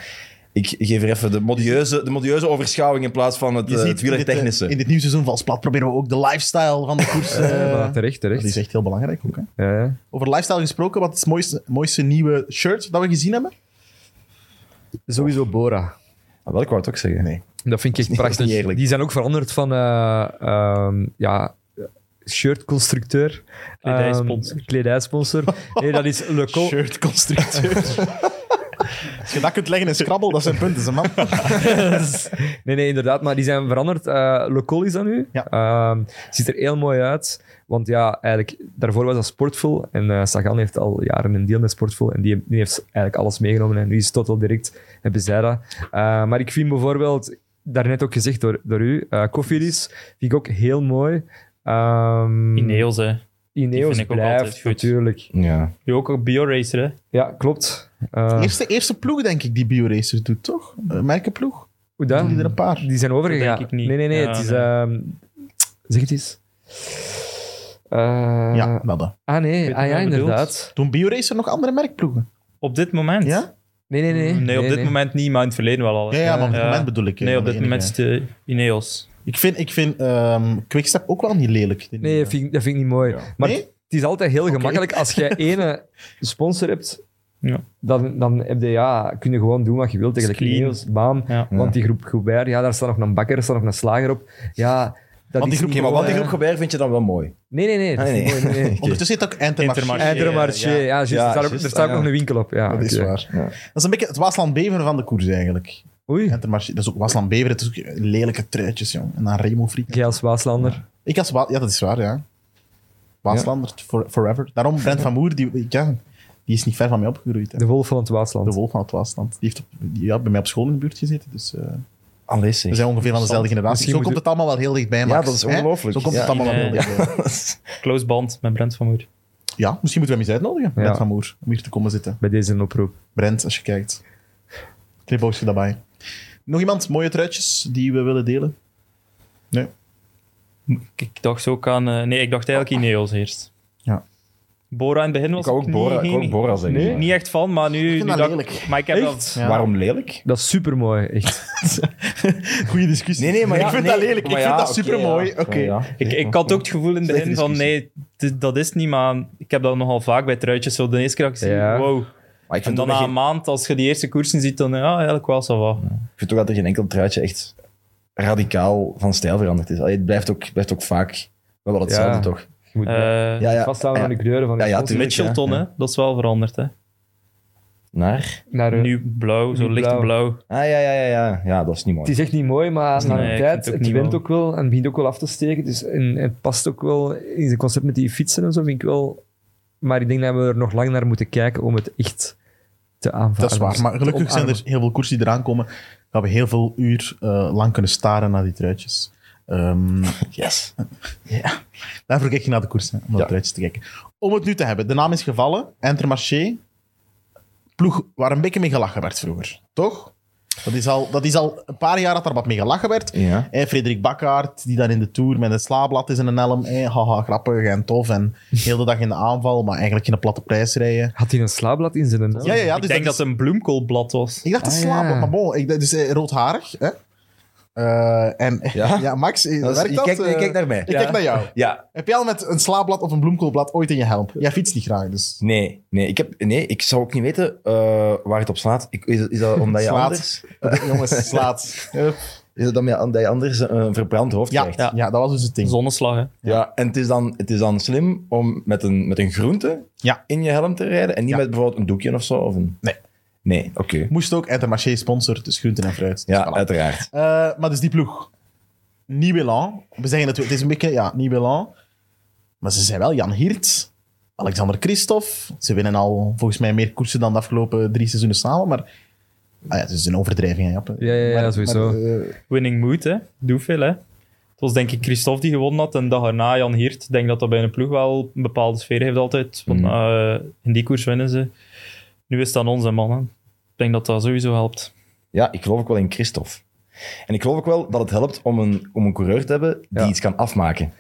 D: Ik geef er even de modieuze, de modieuze overschouwing in plaats van het,
B: Je
D: eh,
B: ziet
D: het
B: in dit, eh,
D: wielertechnische.
B: In dit nieuwe seizoen van Splat proberen we ook de lifestyle van de koers. eh,
C: Ja, terecht,
B: dat is
C: terecht.
B: echt heel belangrijk ook. Hè.
C: Ja, ja.
B: Over lifestyle gesproken, wat is het mooiste, mooiste nieuwe shirt dat we gezien hebben?
C: Sowieso Bora.
D: Ah, wel, ik wou het ook zeggen.
B: Nee.
C: Dat vind ik echt
D: niet- dat is niet
C: prachtig.
D: eerlijk.
C: Die zijn ook veranderd van eh, ehm, ja, shirtconstructeur.
E: Kledijsponsor.
C: Ehm, kledijsponsor. Nee, dat is Le Co-
B: Shirtconstructeur. Als je dat kunt leggen in Scrabble, dat zijn punten, ze man.
C: nee, nee, inderdaad. Maar die zijn veranderd. Eh Le Col is dat nu.
B: Ja.
C: Ehm, ziet er heel mooi uit. Want ja, eigenlijk, daarvoor was dat Sportful. En eh Sagan heeft al jaren een deal met Sportful. En die, die heeft eigenlijk alles meegenomen. En nu is het Total Direct. Hebben zij dat. Eh, maar ik vind bijvoorbeeld, daarnet ook gezegd door, door u, eh Cofidis vind ik ook heel mooi. Ehm,
E: Mm. Ineos, hè. Die
C: Ineos
E: vind ik ook altijd
C: blijft
E: goed.
C: natuurlijk.
D: Ja.
E: Nu ook een bioracer, hè.
C: Ja, klopt. Eh,
B: Eerste, eerste ploeg, denk ik, die BioRacers doet, toch? Eh, merkenploeg?
C: hoe dan?
B: Die er een paar.
C: Die zijn overgegaan.
E: Dat denk ik niet.
C: Nee, nee, nee.
E: Ja,
C: het is,
E: nee.
C: ehm, zeg het eens. Eh,
B: ja, dat. dan.
C: Ah,
E: weet
C: nee. Ah,
E: wat
C: ja, ah,
E: je bedoelt.
C: inderdaad.
B: Doen BioRacer nog andere merkploegen?
E: Op dit moment?
B: Ja?
C: Nee, nee, nee.
E: Nee, op dit moment niet, maar in het verleden wel al.
B: Ja, ja, maar op dit moment bedoel ik. hè,
E: Nee, op
B: van
E: dit
B: de
E: moment
B: enige.
E: is het eh, Ineos.
B: Ik vind, ik vind ehm, Quickstep ook wel niet lelijk. Die
C: Nee,
B: nieuwe.
C: dat vind, ik- dat vind ik niet mooi.
D: Ja.
C: Maar
B: Nee?
C: het is altijd heel gemakkelijk. Als jij ene sponsor hebt,
E: Ja.
C: dan, dan heb je, ja, kun je gewoon doen wat je wilt. Tegen de
E: Is clean.
C: Ineos, bam.
E: Ja.
C: Want die groep Goubert, ja, daar staat nog een bakker, daar staat nog een slager op. Ja, dat
B: Want die
C: is
B: groep-
C: niet
D: Oké, maar wat die
C: mooi.
D: groep Gobert vind je dan wel mooi?
C: Nee, nee, nee. dat is
D: Ah, nee,
C: niet mooi, nee, nee.
B: Ondertussen zit ook Intermarché.
E: Intermarché.
C: Eindremarché, ja,
E: Ja,
C: juist.
D: ja,
C: daar daar
D: juist,
C: staat ook
D: ah,
C: nog
D: ja.
C: een winkel op. Ja,
B: Dat is
C: oké.
B: waar.
D: Ja.
B: Dat is een beetje het Waasland Bever van de koers eigenlijk.
C: Oei,
B: Intermarché, dat is ook Waasland Bever. Het is ook lelijke truitjes, jong. En dan Remo Friet.
C: jij als Waaslander.
B: Ik als Wa ja, dat is waar, ja. Waaslander, for- forever. Daarom Brent van Moer, die, ik- ja, die is niet ver van mij opgegroeid. hè.
C: De wolf van het
B: De
C: Waasland.
B: wolf van het Waasland. Die heeft op- die, ja, bij mij op school in de buurt gezeten. Dus eh,
D: Allee,
B: we
D: zeg.
B: zijn ongeveer van dezelfde generatie.
C: Misschien
B: Zo komt
C: moeten-
B: het allemaal wel heel dichtbij, Max.
D: dat is
B: hè?
D: ongelooflijk.
B: Zo komt het
D: Ja,
B: allemaal wel
E: in,
B: heel
E: eh,
B: dichtbij.
E: Close band met Brent van Moer.
B: Ja, misschien moeten we hem eens uitnodigen, Brent
C: Ja.
B: van Moer, om hier te komen zitten.
C: Bij deze oproep.
B: Brent, als je kijkt. Clipbootje daarbij. Nog iemand, mooie truitjes die we willen delen?
E: Ik, ik dacht ook aan... eh, nee, ik dacht eigenlijk Ineos eerst.
B: Ja.
E: Bora in het begin was
D: Ik kan ook
E: niet-
D: Bora, ik kan ook
E: geen-
D: Bora zeggen.
E: Nee,
D: maar-
E: niet echt van, maar nu...
B: vind
E: nu
B: dat
E: dat-
B: lelijk.
E: Maar ik heb dat...
B: Ja.
D: Waarom lelijk?
C: Dat is supermooi, echt.
B: Goeie discussie.
D: Nee, nee, maar ja,
B: ik vind
D: nee,
B: dat lelijk. Ik
D: maar
B: vind
D: ja,
B: dat
D: oké,
B: supermooi.
D: ja.
B: Oké.
D: Ja, ja.
E: Ik, ik had ook het gevoel in het begin van, nee, dit- dat is het niet, maar ik heb dat nogal vaak bij truitjes zo de eerste keer dat ik zie,
C: Ja.
E: wow.
D: Maar ik
E: En
D: vind, ook
E: dan na
D: dat
E: een
D: geen-
E: maand, als je die eerste koersen ziet, dan ja, eigenlijk wel zo wat.
D: ik vind ook dat er geen enkel truitje echt radicaal van stijl veranderd is. Allee, het blijft ook, blijft ook vaak wel wel hetzelfde,
C: Ja.
D: toch?
C: Je moet
E: Eh,
D: Ja, ja.
C: vasthouden aan de kleuren van de
D: Ja, ja,
C: sponsor.
D: tuurlijk,
E: Mitchelton,
D: ja, ja.
E: Hè, dat is wel veranderd. Hè.
D: Naar?
C: Naar, eh,
E: Nu blauw, zo
C: nu
E: licht
C: blauw.
E: blauw.
D: Ah, ja, ja, ja, ja. Ja, dat is niet
C: Het
D: mooi.
C: is echt niet mooi, maar na
E: Nee,
C: een
E: ik vind
C: tijd,
E: het ook
C: het
E: niet
C: wint
E: mooi.
C: ook wel en het begint ook wel af te steken. Dus, en het past ook wel in zijn concept met die fietsen en zo, vind ik wel. Maar ik denk dat we er nog lang naar moeten kijken om het echt te aanvaarden.
B: Dat is waar. Maar gelukkig zijn er heel veel koersen die eraan komen. Dat we heel veel uur eh, lang kunnen staren naar die truitjes. Ehm,
D: Yes.
B: daarvoor kijk je naar de koers, hè, om naar
D: Ja.
B: de truitjes te kijken. Om het nu te hebben. De naam is gevallen. Intermarché. Ploeg waar een beetje mee gelachen werd vroeger. Toch? Dat is al, dat is al een paar jaar dat er wat mee gelachen werd.
D: Ja.
B: Hè, Frederik Bakkaert, die daar in de Tour met een slaapblad is en een helm. Hè, haha, grappig en tof. En heel de dag in de aanval, maar eigenlijk in een platte prijs rijden.
C: Had hij een slaapblad in zijn neus?
B: Ja, ja, ja.
D: dus
E: ik denk dat
B: is-
E: het een bloemkoolblad was.
B: Ik dacht dat
C: Ah,
B: slapen,
C: ja.
B: maar bon, ik, dus eh, roodharig. Hè? Eh, en ja,
D: Ja?
B: Max, eh,
D: Dat is-
B: werkt
D: je
B: dat?
D: kijkt- je
B: Eh,
D: kijkt naar mij.
B: Ik
D: Ja.
B: kijk naar jou.
D: Ja.
B: Heb jij al met een slaapblad of een bloemkoolblad ooit in je helm? Jij fietst niet graag, dus.
D: Nee, nee, ik, heb, nee, ik zou ook niet weten eh, waar het op slaat. Ik, is, is dat omdat je
B: Slaat.
D: anders,
B: Jongens, slaat. Hup.
D: is dat omdat je- omdat je anders een verbrand hoofd
B: Ja,
D: krijgt?
B: ja. dat was dus het ding.
E: Zonneslag, hè.
D: Ja, en het is dan, het is dan slim om met een, met een groente
B: Ja.
D: in je helm te rijden en niet
B: Ja.
D: met bijvoorbeeld een doekje of zo. Of een...
B: Nee.
D: Nee, oké.
B: Moest ook Intermarché sponsor, dus groenten en fruit. Dus
D: Ja,
B: voilà.
D: uiteraard.
B: Eh, maar dus die ploeg. Nieuw Elan. We zeggen het, het is een beetje, ja, Nieuw Elan. Maar ze zijn wel Jan Hiert, Alexander Christophe. Ze winnen al volgens mij meer koersen dan de afgelopen drie seizoenen samen. Maar ah ja, het is een overdrijving, hè, Jappe.
C: Ja, ja, ja,
B: Maar-
C: sowieso.
B: maar, eh,
E: Winning mood, hè. Doe veel, hè. Het was denk ik Christophe die gewonnen had. En dag erna Jan Hiert. Ik denk dat dat bij een ploeg wel een bepaalde sfeer heeft altijd. Want,
D: Mm.
E: eh, in die koers winnen ze. Nu is het aan ons, hè, mannen. Ik denk dat dat sowieso helpt.
D: Ja, ik geloof ook wel in Christophe. En ik geloof ook wel dat het helpt om een, om een coureur te hebben die
C: Ja.
D: iets kan afmaken.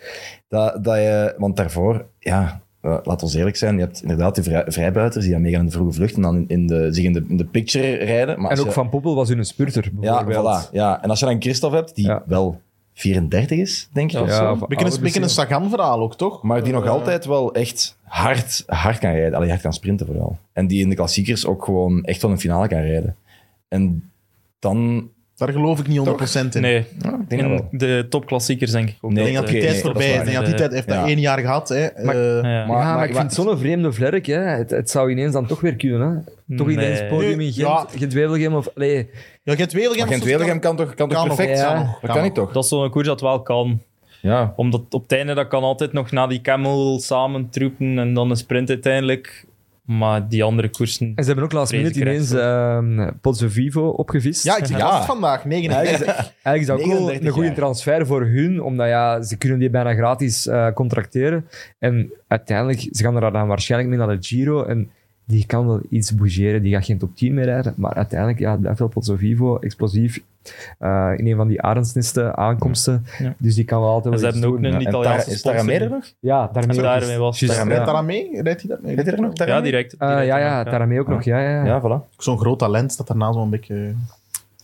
D: Dat, dat je, want daarvoor, ja, eh, laat ons eerlijk zijn, je hebt inderdaad die vrij, vrijbuiters die dan meegaan in de vroege vlucht en dan in, in de, zich in de, in de picture rijden. Maar
C: En
D: als
C: ook
D: je-
C: Van Poppel was hun spurter,
D: ja,
C: bijvoorbeeld.
D: voilà, ja, en als je dan Christophe hebt, die
C: Ja.
D: wel 34 is, denk ik,
E: Ja,
D: of zo.
C: of
B: een beetje een,
C: ouder
B: beetje een
C: misschien.
B: Sagan-verhaal ook, toch?
D: Maar die nog
B: Eh,
D: altijd wel echt hard, hard kan rijden. Allee, hard kan sprinten vooral. En die in de klassiekers ook gewoon echt wel een finale kan rijden. En dan...
B: Daar geloof ik niet 100% in.
E: Nee,
D: ja, ik denk dat
E: in
D: wel.
E: de topklassiekers denk ik ook.
D: Nee,
B: Ik denk dat eh, die
D: Oké, nee,
B: tijd
D: dat
B: voorbij
D: is
B: is.
D: waar.
B: Ik denk dat die
E: Eh,
B: tijd heeft dat
D: ja.
B: één jaar gehad. Hè. Eh,
E: Ja.
C: Ja, maar,
D: Maar-
C: ik
D: maar-
C: vind het zo'n vreemde vlerk. Hè. Het, het zou ineens dan toch weer kunnen. Hè. Toch
E: Nee.
C: ineens podium in
B: Nu-
C: Gent,
B: ja.
C: Gent Wevelgem of... allee,
B: ja, Gent Wevelgem.
D: Maar Gent
B: of zo,
D: Wevelgem kan toch, kan toch
B: Kan nog,
D: perfect?
C: ja.
D: Dat kan, ik toch?
E: Dat is zo'n koers dat wel kan.
D: Ja.
E: Omdat op het einde, dat kan altijd nog na die camel samen troepen en dan een sprint uiteindelijk. Maar die andere koersen...
C: en ze hebben ook laatst
E: Vrees
C: minute
E: ik
C: ineens ehm Pozzo Vivo opgevist.
B: Ja, ik zeg
D: Ja.
B: ja. vandaag, 39.
C: Eigenlijk is dat ook wel
D: 39
C: een goede
D: jaar.
C: transfer voor hun, omdat ja, ze kunnen die bijna gratis eh, contracteren. En uiteindelijk, ze gaan er dan waarschijnlijk mee naar de Giro en die kan wel iets bougeren. Die gaat geen top 10 meer rijden, maar uiteindelijk, ja, het blijft wel Pozzo Vivo, explosief. eh, in een van die arendsnesten aankomsten.
E: Ja.
C: Dus die kan wel altijd wel
E: En ze
C: iets
E: hebben ook
C: doen.
E: een
D: En
E: Italiaanse
D: Tara- is
E: sponsor.
D: Taramere nog?
C: Ja, daarmee
E: En daarmee was
C: Juist,
D: Taramere.
B: Rijdt
C: ja.
B: daar aan mee? Rijdt hij daar mee?
D: Weet je er nog?
E: Ja,
D: Taramere?
E: direct.
C: Eh, ja, ja, daarmee ook nog. Ja, ja. ja.
D: Ja, voilà. Dus
B: Ook Zo'n groot talent dat daarna zo'n beetje...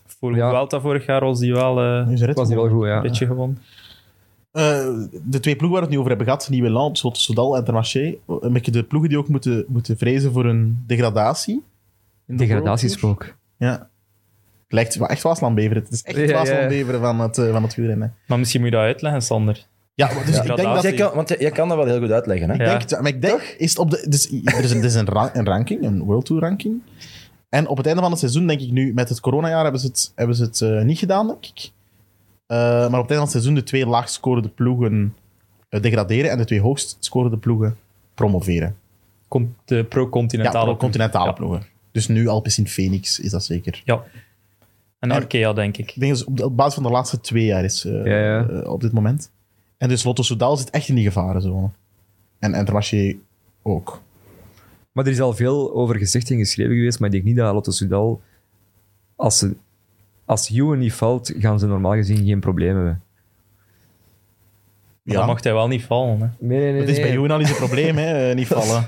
E: Voor
C: Ja.
E: Vuelta vorig jaar was die wel eh,
B: Nu is
C: Dat was die wel goed, ja.
E: een beetje gewonnen.
B: Eh, de twee ploegen waar we het nu over hebben gehad, Nieuwe Land, Sodal en Intermarché, een beetje de ploegen die ook moeten, moeten vrezen voor een degradatie. In de World
C: Degradatiespook.
B: Tour. Ja. Het lijkt wel echt Waasland-Beveren. Het is echt het
C: Ja, ja.
B: Waasland-Beveren van het, eh, van het wielrennen.
E: Maar misschien moet je dat uitleggen, Sander.
B: Ja, maar dus ik denk
E: Degradatie.
B: dat...
D: Want jij kan, want jij, jij kan dat wel heel goed uitleggen, hè?
B: Ik denk, dat- maar ik denk, is het op de, dus, er is, een, er is een, ra- een ranking, een World Tour ranking. En op het einde van het seizoen, denk ik nu, met het coronajaar hebben ze het, hebben ze het eh, niet gedaan, denk ik. Eh, maar op het einde van het seizoen de twee laagst scorende ploegen eh, degraderen en de twee hoogst scorende ploegen promoveren.
E: Komt de pro-continentale.
B: ja, continentale
E: Ja.
B: ploegen. Dus nu Alpes in Phoenix is dat zeker.
E: Ja.
B: En-
E: En Arkea, denk ik.
B: Ik denk dat het op, de, op basis van de laatste twee jaar is eh,
C: Ja, ja.
B: eh, op dit moment. En dus Lotto Soudal zit echt in die gevarenzone. En Intermarché ook.
C: Maar er is al veel over gezegd en geschreven geweest, maar ik denk niet dat Lotto Soudal, als, ze, als Juwen niet valt, gaan ze normaal gezien geen problemen hebben.
E: Maar Dan mag hij wel niet vallen. Hè.
C: Nee, nee, nee.
B: Dat is bij Johan al eens een probleem, hè? eh, niet vallen.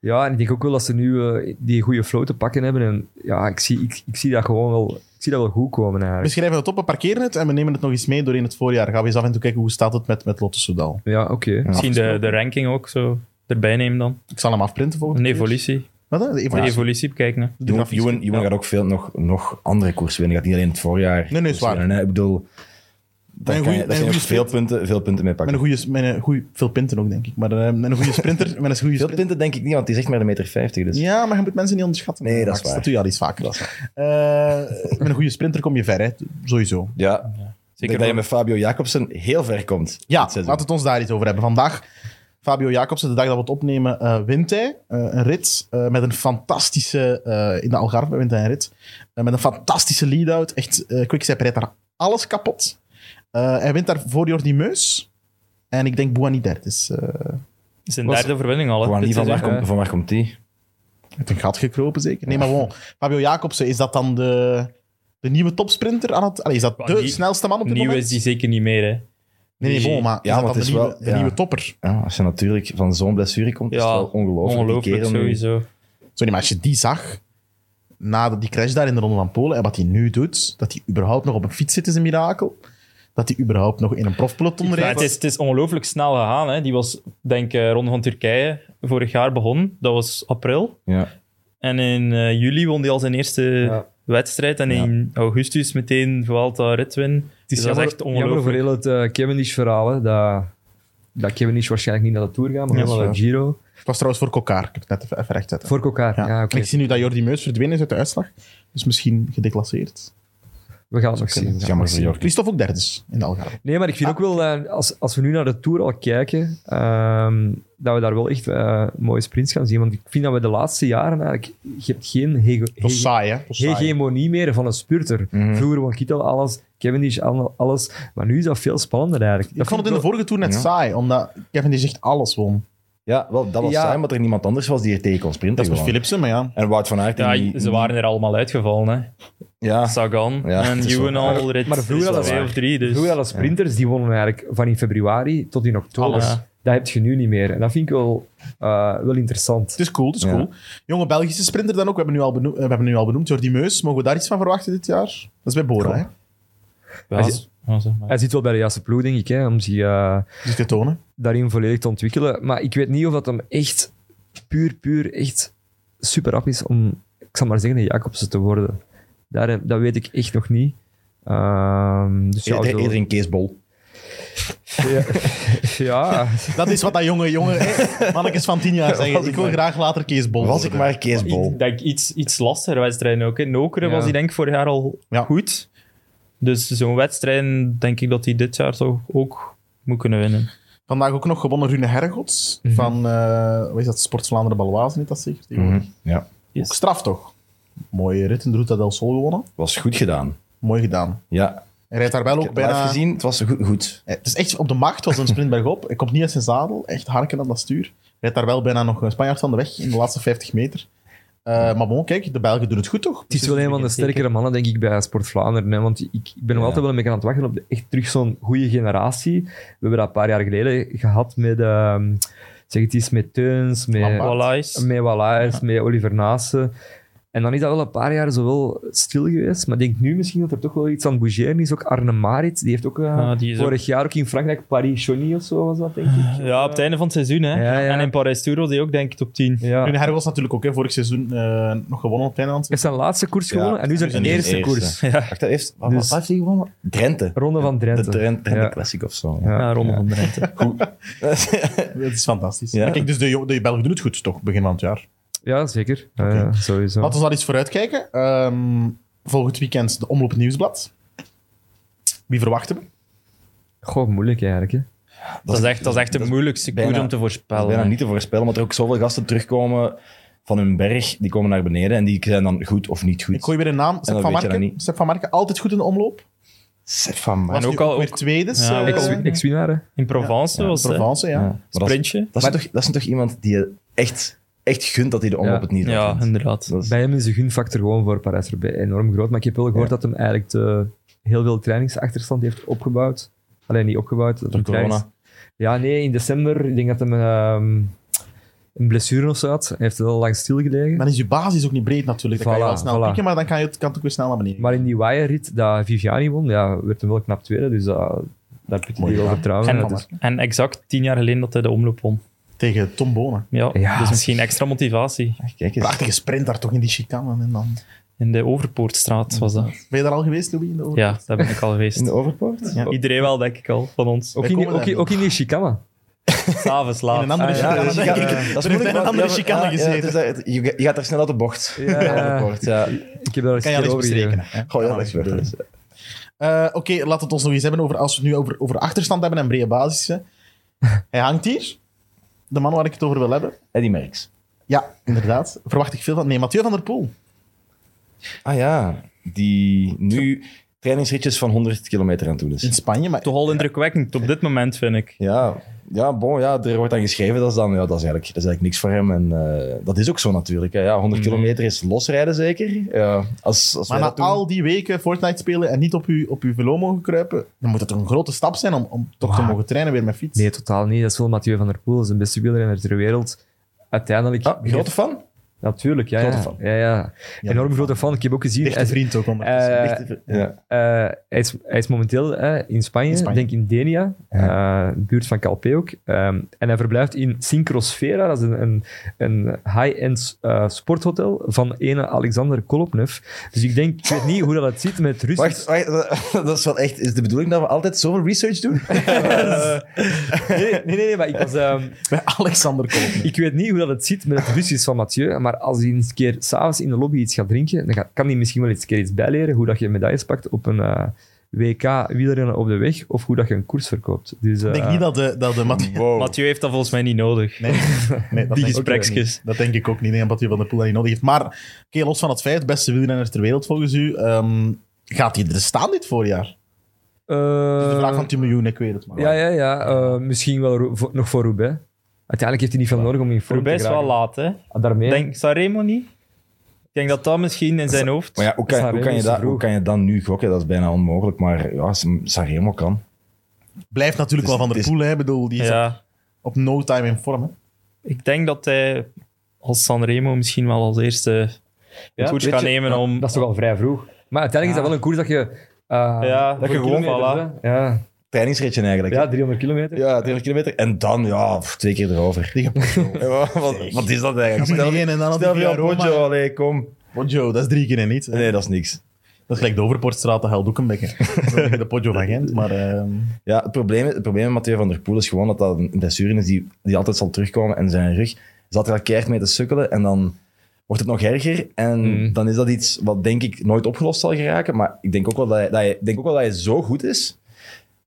C: Ja, en ik denk ook wel dat ze nu eh, die goede flow te pakken hebben. En ja, ik zie, ik, ik zie dat gewoon wel, ik zie dat wel goed komen
B: We
C: eigenlijk.
B: schrijven het op, we parkeren het en we nemen het nog eens mee doorheen het voorjaar. Gaan we eens af en toe kijken hoe staat het met, met Lotte Soudal.
C: Ja, oké.
E: Misschien de, de ranking ook zo erbij nemen dan.
B: Ik zal hem afprinten volgende
E: Een
B: keer.
E: evolutie.
B: Wat? hè? De
E: De
B: evolutie.
E: evolutie bekijken. hè.
B: De
D: Johan-
B: grafiek.
D: Johan Johan gaat ook veel nog, nog andere koersen winnen. Gaat niet alleen het voorjaar.
B: nee, is
D: koersen
B: waar.
D: winnen, hè. Ik bedoel, daar kan
B: een goeie-
D: je, daar
B: met een
D: kan je ook
B: goeie
D: veel
B: sprint.
D: punten, veel punten mee
B: Met
D: pakken.
B: een goede, met een goede, veel pinten ook, denk ik. Maar eh, met een goede sprinter, met een goede
D: Veel
B: sprinter.
D: punten denk ik niet, want die is echt maar de meter 50. Dus.
B: Ja, maar je moet mensen niet onderschatten.
D: Nee, dat is
B: Max,
D: waar.
B: Dat doe je al iets vaker. Eh, met een goede sprinter kom je ver, hè? sowieso.
D: Ja. Ik
E: Zeker
D: denk dat je
E: wel.
D: met Fabio Jacobsen heel ver komt.
B: Ja,
D: dit seizoen.
B: laten we het ons daar iets over hebben. Vandaag, Fabio Jacobsen, de dag dat we het opnemen, eh, wint hij eh, een rit eh, met een fantastische... eh, in de Algarve wint hij een rit. eh, met een fantastische lead-out. Echt, eh Quickstep rijdt daar alles kapot. Eh, hij wint daar voor Jordi Meus. En ik denk Boani derde is eh
E: Zijn
C: Was-
E: derde verwinning al. hè,
D: Gewoon
E: dit
D: niet van waar,
E: seizoen.
D: komt, van waar komt die?
B: uit een gat gekropen, zeker. Nee, maar bon, Fabio Jacobsen, is dat dan de, de nieuwe topsprinter? Aan het, allee, is dat
E: Ja,
B: de
E: nie-
B: snelste man op dit
E: Nieuw
B: moment?
E: is die zeker niet meer. Hè.
B: Nee, nee, bon, maar
D: Ja,
B: is dat
D: maar
B: dan
D: het
B: de,
D: is wel-
B: nieuwe, de
D: ja.
B: nieuwe topper?
D: Ja, als je natuurlijk van zo'n blessure komt, is het
E: Ja,
D: wel ongelooflijk. Die
E: Ongelooflijk
D: kerel nu-
E: sowieso.
B: Sorry, maar als je die zag, na de- die crash daar in de Ronde van Polen, en wat hij nu doet, dat hij überhaupt nog op een fiets zit, is een mirakel. Dat hij überhaupt nog in een profpeloton
E: Ja, het, is,
B: rijdt.
E: het is ongelooflijk snel gegaan. Hè. Die was, denk ik, eh, Ronde van Turkije vorig jaar begonnen. Dat was april.
D: Ja.
E: En in eh, juli won hij al zijn eerste
C: Ja.
E: wedstrijd. En in augustus meteen Vuelta Ritwin. Dus dat is echt
C: jammer voor
E: ongelooflijk.
C: heel het eh Cavendish-verhaal. hè, Dat, dat Cavendish waarschijnlijk niet naar de Tour gaat, maar
B: Ja,
C: wel naar de
B: dat
C: Giro.
B: Het was trouwens voor Kokaar. Ik heb het net even, even rechtzetten.
C: Voor elkaar. Ja,
B: Ja.
C: oké.
B: En Ik zie nu dat Jordi Meus verdwenen is uit de uitslag. Dus misschien gedeclasseerd.
C: We gaan het nog zien.
D: Dat is jammer voor Jordi.
B: Christophe ook derde is in de Algarve.
C: Nee, maar ik vind ook wel, eh, als, als we nu naar de Tour al kijken, ehm, dat we daar wel echt eh, mooie sprints gaan zien. Want ik vind dat we de laatste jaren eigenlijk... Je hebt geen hege-
B: Dat is
C: hege-
B: saai, hè? Dat is saai. Mhm.
C: hegemonie meer van een spurter. Vroeger won Kittel alles, Cavendish al- alles. Maar nu is dat veel spannender eigenlijk.
B: Ik vond het in de
C: wel-
B: vorige toer net
D: Ja.
B: saai, omdat Kevin die zegt alles won.
D: ja, wel, dat was
C: Ja.
D: saai, omdat er niemand anders was die er tegen kon sprinten.
B: Dat is met
D: gewoon.
B: Philipsen, maar ja.
D: En Wout van Aert. en
E: Ja,
D: die-
E: ze waren er allemaal uitgevallen. Hè.
D: Ja,
E: Sagan
D: Ja,
E: en
D: het is wel
E: Ewan
D: waar.
E: al. Rit,
C: Maar vroeger
E: rit
C: hadden
E: twee
C: ze-
E: of drie. Dus.
C: Vroeger hadden sprinters, die wonnen eigenlijk van in februari tot in oktober.
E: Alles.
C: Dat heb je nu niet meer. En dat vind ik wel, eh, wel interessant.
B: Het is cool, het is
D: Ja.
B: cool. Jonge Belgische sprinter dan ook. We hebben nu al, beno- eh, we hebben nu al benoemd Jordi Meus. Mogen we daar iets van verwachten dit jaar? Dat is bij Bora,
C: Goh.
B: hè?
E: Ja,
C: Hij
E: ze- ja, zeg maar.
C: Hij zit wel bij de juiste ploeg, denk ik, hè, om zich eh,
B: Dus te tonen.
C: daarin volledig te ontwikkelen. Maar ik weet niet of dat hem echt puur, puur echt super rap is om, ik zal maar zeggen, een Jacobsen te worden. Daar, dat weet ik echt nog niet. Ehm, dus ja,
D: eerder,
C: zo-
D: eerder een E- Keesbol.
C: ja, ja,
B: Dat is wat dat jonge, jonge eh, mannetjes van tien jaar zeggen.
D: Was ik
B: Ik wil
D: maar-
B: graag later Kees Bol
D: Was ik
B: worden.
D: maar Keesbol.
E: Ik denk iets, iets lastiger wedstrijden ook. Hè. Nokeren
C: Ja.
E: was hij denk ik vorig jaar al
B: Ja.
E: goed. Dus zo'n wedstrijd denk ik dat hij dit jaar toch ook moet kunnen winnen.
B: Vandaag ook nog gewonnen Rune Hergots.
D: Mhm.
B: Van, eh wat is dat, Sport Vlaanderen Baloise, niet dat zeker? tegenwoordig?
D: Mhm, Ja,
E: Yes.
B: Ook straf, toch? Mooie rit in de Ruta del Sol gewonnen.
D: was goed gedaan.
B: Mooi gedaan.
D: Ja,
B: Hij rijdt daar wel
D: ik
B: ook
D: heb het live
B: bijna...
D: gezien, het was goed. goed.
B: Eh, Het is echt op de macht, was een sprint bergop. Hij komt niet uit eh, zijn zadel, echt harken aan dat stuur. Rijdt daar wel bijna nog een Spanjaard van de weg in de laatste 50 meter. Eh, maar bon, kijk, de Belgen doen het goed, toch?
C: Het is wel een van de sterkere mannen, denk ik, bij Sport Vlaanderen. Hè? Want ik, ik ben
D: Ja.
C: nog altijd wel een beetje aan het wachten op de, echt terug zo'n goede generatie. We hebben dat een paar jaar geleden gehad met, ehm, zeg het eens, met Teuns, met
B: Lampaard.
E: Wallace.
C: met Wallaers, met Oliver Naassen. En dan is dat wel een paar jaar zo wel stil geweest. Maar ik denk nu misschien dat er toch wel iets aan het bougeren is. Ook Arne Marit, die heeft ook eh,
E: Ah, die is
C: vorig jaar ook in Frankrijk Paris-Chauny of zo was dat, denk ik.
E: Ja, op het einde van het seizoen. Hè.
C: Ja, ja.
E: En in Paris Touro die ook, denk ik, top 10.
C: Ja.
B: Hun was natuurlijk ook hè, vorig seizoen eh, nog gewonnen op het einde.
C: Hij heeft zijn laatste koers
D: Ja,
C: gewonnen en nu zijn
D: en nu zijn
C: eerste,
D: eerste.
C: koers.
D: Wacht, dat heeft... Wat
C: Dus-
D: wat heeft hij Ah, gewonnen? Drenthe.
C: Ronde van
D: De
C: Drenthe.
D: Drenthe, Drenthe
C: Ja.
D: Classic of zo.
C: Ja.
E: Ja, Ronde van Drenthe.
B: Dat Eh, is fantastisch.
D: Ja.
B: Maar kijk, dus de, jo- de Belgen doen het goed, toch? Begin van het jaar.
C: Ja, zeker. Ja, ja, sowieso.
B: Laten we daar iets vooruitkijken. Ehm volgend weekend de Omloop Nieuwsblad. Wie verwachten we?
C: Goh, moeilijk eigenlijk. Hè.
E: Dat is echt, dat is echt de
D: dat is
E: moeilijkste
D: bijna-
E: koers om te
D: Dat
E: voorspellen.
D: is bijna
E: hè.
D: niet te voorspellen, omdat er ook zoveel gasten terugkomen van hun berg. Die komen naar beneden en die zijn dan goed of niet goed.
B: Ik gooi weer een naam. Sepp
D: dan
B: van,
D: weet je dat
B: Marken.
D: niet.
B: Sepp van Marken, altijd goed in de omloop.
D: Stefan,
B: Was
E: ook
B: nu
E: al-
B: weer
E: ook-
B: tweede.
E: Ja,
B: eh,
E: ex-
B: in
C: Ex-winnaar, hè.
E: In Provence was het. hè.
B: Provence, ja.
D: dat, is,
E: Sprintje.
D: dat, is toch, dat is toch iemand die je echt, echt gunt dat hij de omloop
C: Ja.
D: het niet
E: Ja,
D: wint.
E: inderdaad.
D: Dat is-
C: Bij hem is de gunfactor gewoon voor Parijs roubaix enorm groot. Maar ik heb wel gehoord dat hem eigenlijk te- heel veel trainingsachterstand heeft opgebouwd. Alleen niet opgebouwd. dat
D: Door
C: hem trainings-
D: corona.
C: Ja, nee, in december. Ik denk dat hem ehm, een blessure of zo had. Hij heeft wel lang stilgelegen.
B: Dan is je basis ook niet breed natuurlijk. Dan kan je
C: Voilà,
B: wel snel
C: voilà.
B: pikken, maar dan kan, je, het- kan het ook weer snel naar beneden.
C: Maar in die waaierrit dat Viviani won, ja, werd hem wel knap tweede. Dus dat, daar put je
B: Mooi
C: wel
B: gedaan.
C: vertrouwen
E: En,
C: in.
E: dat- en exact tien jaar geleden dat hij de omloop won.
B: Tegen Tom Bonen.
E: Ja,
C: Ja.
E: dus misschien extra motivatie.
D: Kijk eens.
B: Prachtige sprint daar toch in die chicane. En dan...
E: In de Overpoortstraat was dat.
B: Ben je daar al geweest, Louis? In de oorlog?
E: Ja, daar ben ik al
D: In
E: geweest.
D: de overpoort?
B: Ja.
E: Iedereen wel, denk ik al, van ons.
C: Ook
B: Wij
C: in, die-
B: komen
C: ook, in-
B: daar
C: ook in die chicane.
E: S'avonds laat.
B: In een andere
E: Ah, ja.
B: chicane.
D: dat is-
B: denk ik.
D: dat is
B: Er heeft
D: moeilijk,
B: een
D: maar-
B: andere
D: ja,
B: chicane
D: ja,
B: gezeten.
D: het is dat- je, je gaat er snel uit de bocht.
C: Ja, ja.
D: Overpoort, ja. Dus,
C: Ik heb daar eens
B: Kan je al eens
C: een keer over gegeven.
B: besrekenen. hè?
D: Goh, ja,
B: Kan
D: dat is wel
B: gebeuren.
D: eens.
B: Eh, Oké, laat het ons nog eens hebben over, als we het nu over, over achterstand hebben en brede basis. hè. Hij hangt hier. De man waar ik het over wil hebben.
D: Eddie Merckx.
B: Ja, inderdaad. Verwacht ik veel van. Nee, Mathieu van der Poel.
D: Ah ja, die nu trainingsritjes van 100 kilometer aan toe is.
B: In Spanje, maar
E: Toch al indrukwekkend op dit moment, vind ik.
D: Ja, ja, bon, ja, er wordt dan geschreven, dat is dan, ja, dat is eigenlijk, dat is eigenlijk niks voor hem. En eh, dat is ook zo natuurlijk. Hè. Ja, 100 kilometer is losrijden zeker. Ja, als, als wij
B: Maar na
D: dat doen-
B: al die weken Fortnite spelen en niet op uw, op uw velo mogen kruipen, dan moet het toch een grote stap zijn om, om toch te
C: Wow.
B: mogen trainen weer met fiets.
C: Nee, totaal niet. Dat is wel Mathieu van der Poel. Dat is de beste wielrenner ter wereld. Uiteindelijk...
D: Ah, grote fan?
C: Natuurlijk, ja.
D: Grote
C: ja.
D: fan.
C: Ja, ja. Enorm grote fan. Ik heb ook gezien...
B: Dichte
C: hij-
B: vriend ook
C: eh,
B: ondertussen.
D: Ja.
C: eh, hij, is, hij is momenteel eh, in, Spanje,
B: In Spanje.
C: denk in Denia, eh, de buurt van Calpe ook. Ehm, en hij verblijft in Syncrosfera, dat is een, een, een high-end eh, sporthotel van ene Alexander Kolopnev. Dus ik denk, ik weet niet hoe dat het zit met Russisch.
D: Wacht, wacht, dat- dat is wel echt... Is de bedoeling dat we altijd zoveel research doen?
C: Nee, nee, nee, nee, maar ik was... ehm,
B: Bij Alexander Koop.
C: Ik weet niet hoe dat het zit met het Russisch van Mathieu, maar als hij eens een keer s'avonds in de lobby iets gaat drinken, dan ga- kan hij misschien wel eens een keer iets bijleren hoe dat je medailles pakt op een eh, WK wielrennen op de weg of hoe dat je een koers verkoopt. Dus, eh,
B: Ik denk niet dat de, dat de Mathieu...
E: Mathieu heeft dat volgens mij niet nodig.
B: Nee, nee dat,
E: Die
B: denk ik,
E: gespreksjes.
B: dat denk ik ook niet. Nee, Mathieu van der Poel dat niet nodig heeft. Maar oké, los van het feit, beste wielrenner ter wereld volgens u, ehm, gaat hij er staan dit voorjaar?
C: eh,
B: De vraag van 10 miljoen, ik weet het maar.
C: Ja, ja, ja. eh, misschien wel Ro- voor- nog voor Roubaix. Uiteindelijk heeft hij niet veel nodig om in vorm
E: Roubaix
C: te
E: is wel
C: geraken.
E: laat, hè.
C: Ah, Daarmee.
E: Denk Sanremo niet? Ik denk dat dat misschien in zijn hoofd...
D: Maar ja, hoe kan, hoe, kan je dat, hoe kan je dan nu gokken? Dat is bijna onmogelijk. Maar ja, S- Sanremo kan.
B: Blijft natuurlijk
D: Het is-
B: wel van der
D: het is-
B: Poel, hè. Ik bedoel, die is op,
E: Ja,
B: op no time in vorm. Hè.
E: ik denk dat hij als Sanremo misschien wel als eerste
C: Ja,
E: het koers
C: weet
E: gaat
C: je,
E: nemen om...
C: Dat is toch al vrij vroeg. Maar uiteindelijk is dat wel een koers dat je... eh,
E: Ja, dat
C: voor
E: je gewoon-
C: kilometers, hè. Ja.
D: Trainingsritje eigenlijk.
C: ja, 300 kilometer.
D: Ja, 300 kilometer. En dan, ja, pff, twee keer erover.
B: Tegen Poggio.
D: Ja, wat, wat is dat eigenlijk?
B: Ja, maar die ene en dan op die
D: stel je aan
B: Roma.
D: Bojo, allee, kom.
B: Poggio, dat is drie keer en niet. hè.
D: Nee, dat is niks.
B: Dat is gelijk de Overportstraat, dat helpt ook een beetje. Dat is wel niet de Poggio van Gent, maar... ehm,
D: Ja, het probleem, het probleem met Mathieu van der Poel is gewoon dat dat een blessure is die, die altijd zal terugkomen. En zijn rug zat er al keihard mee te sukkelen. En dan wordt het nog erger. En
C: Mm.
D: dan is dat iets wat denk ik nooit opgelost zal geraken. Maar ik denk ook wel dat hij, dat hij, ik denk ook wel dat hij zo goed is,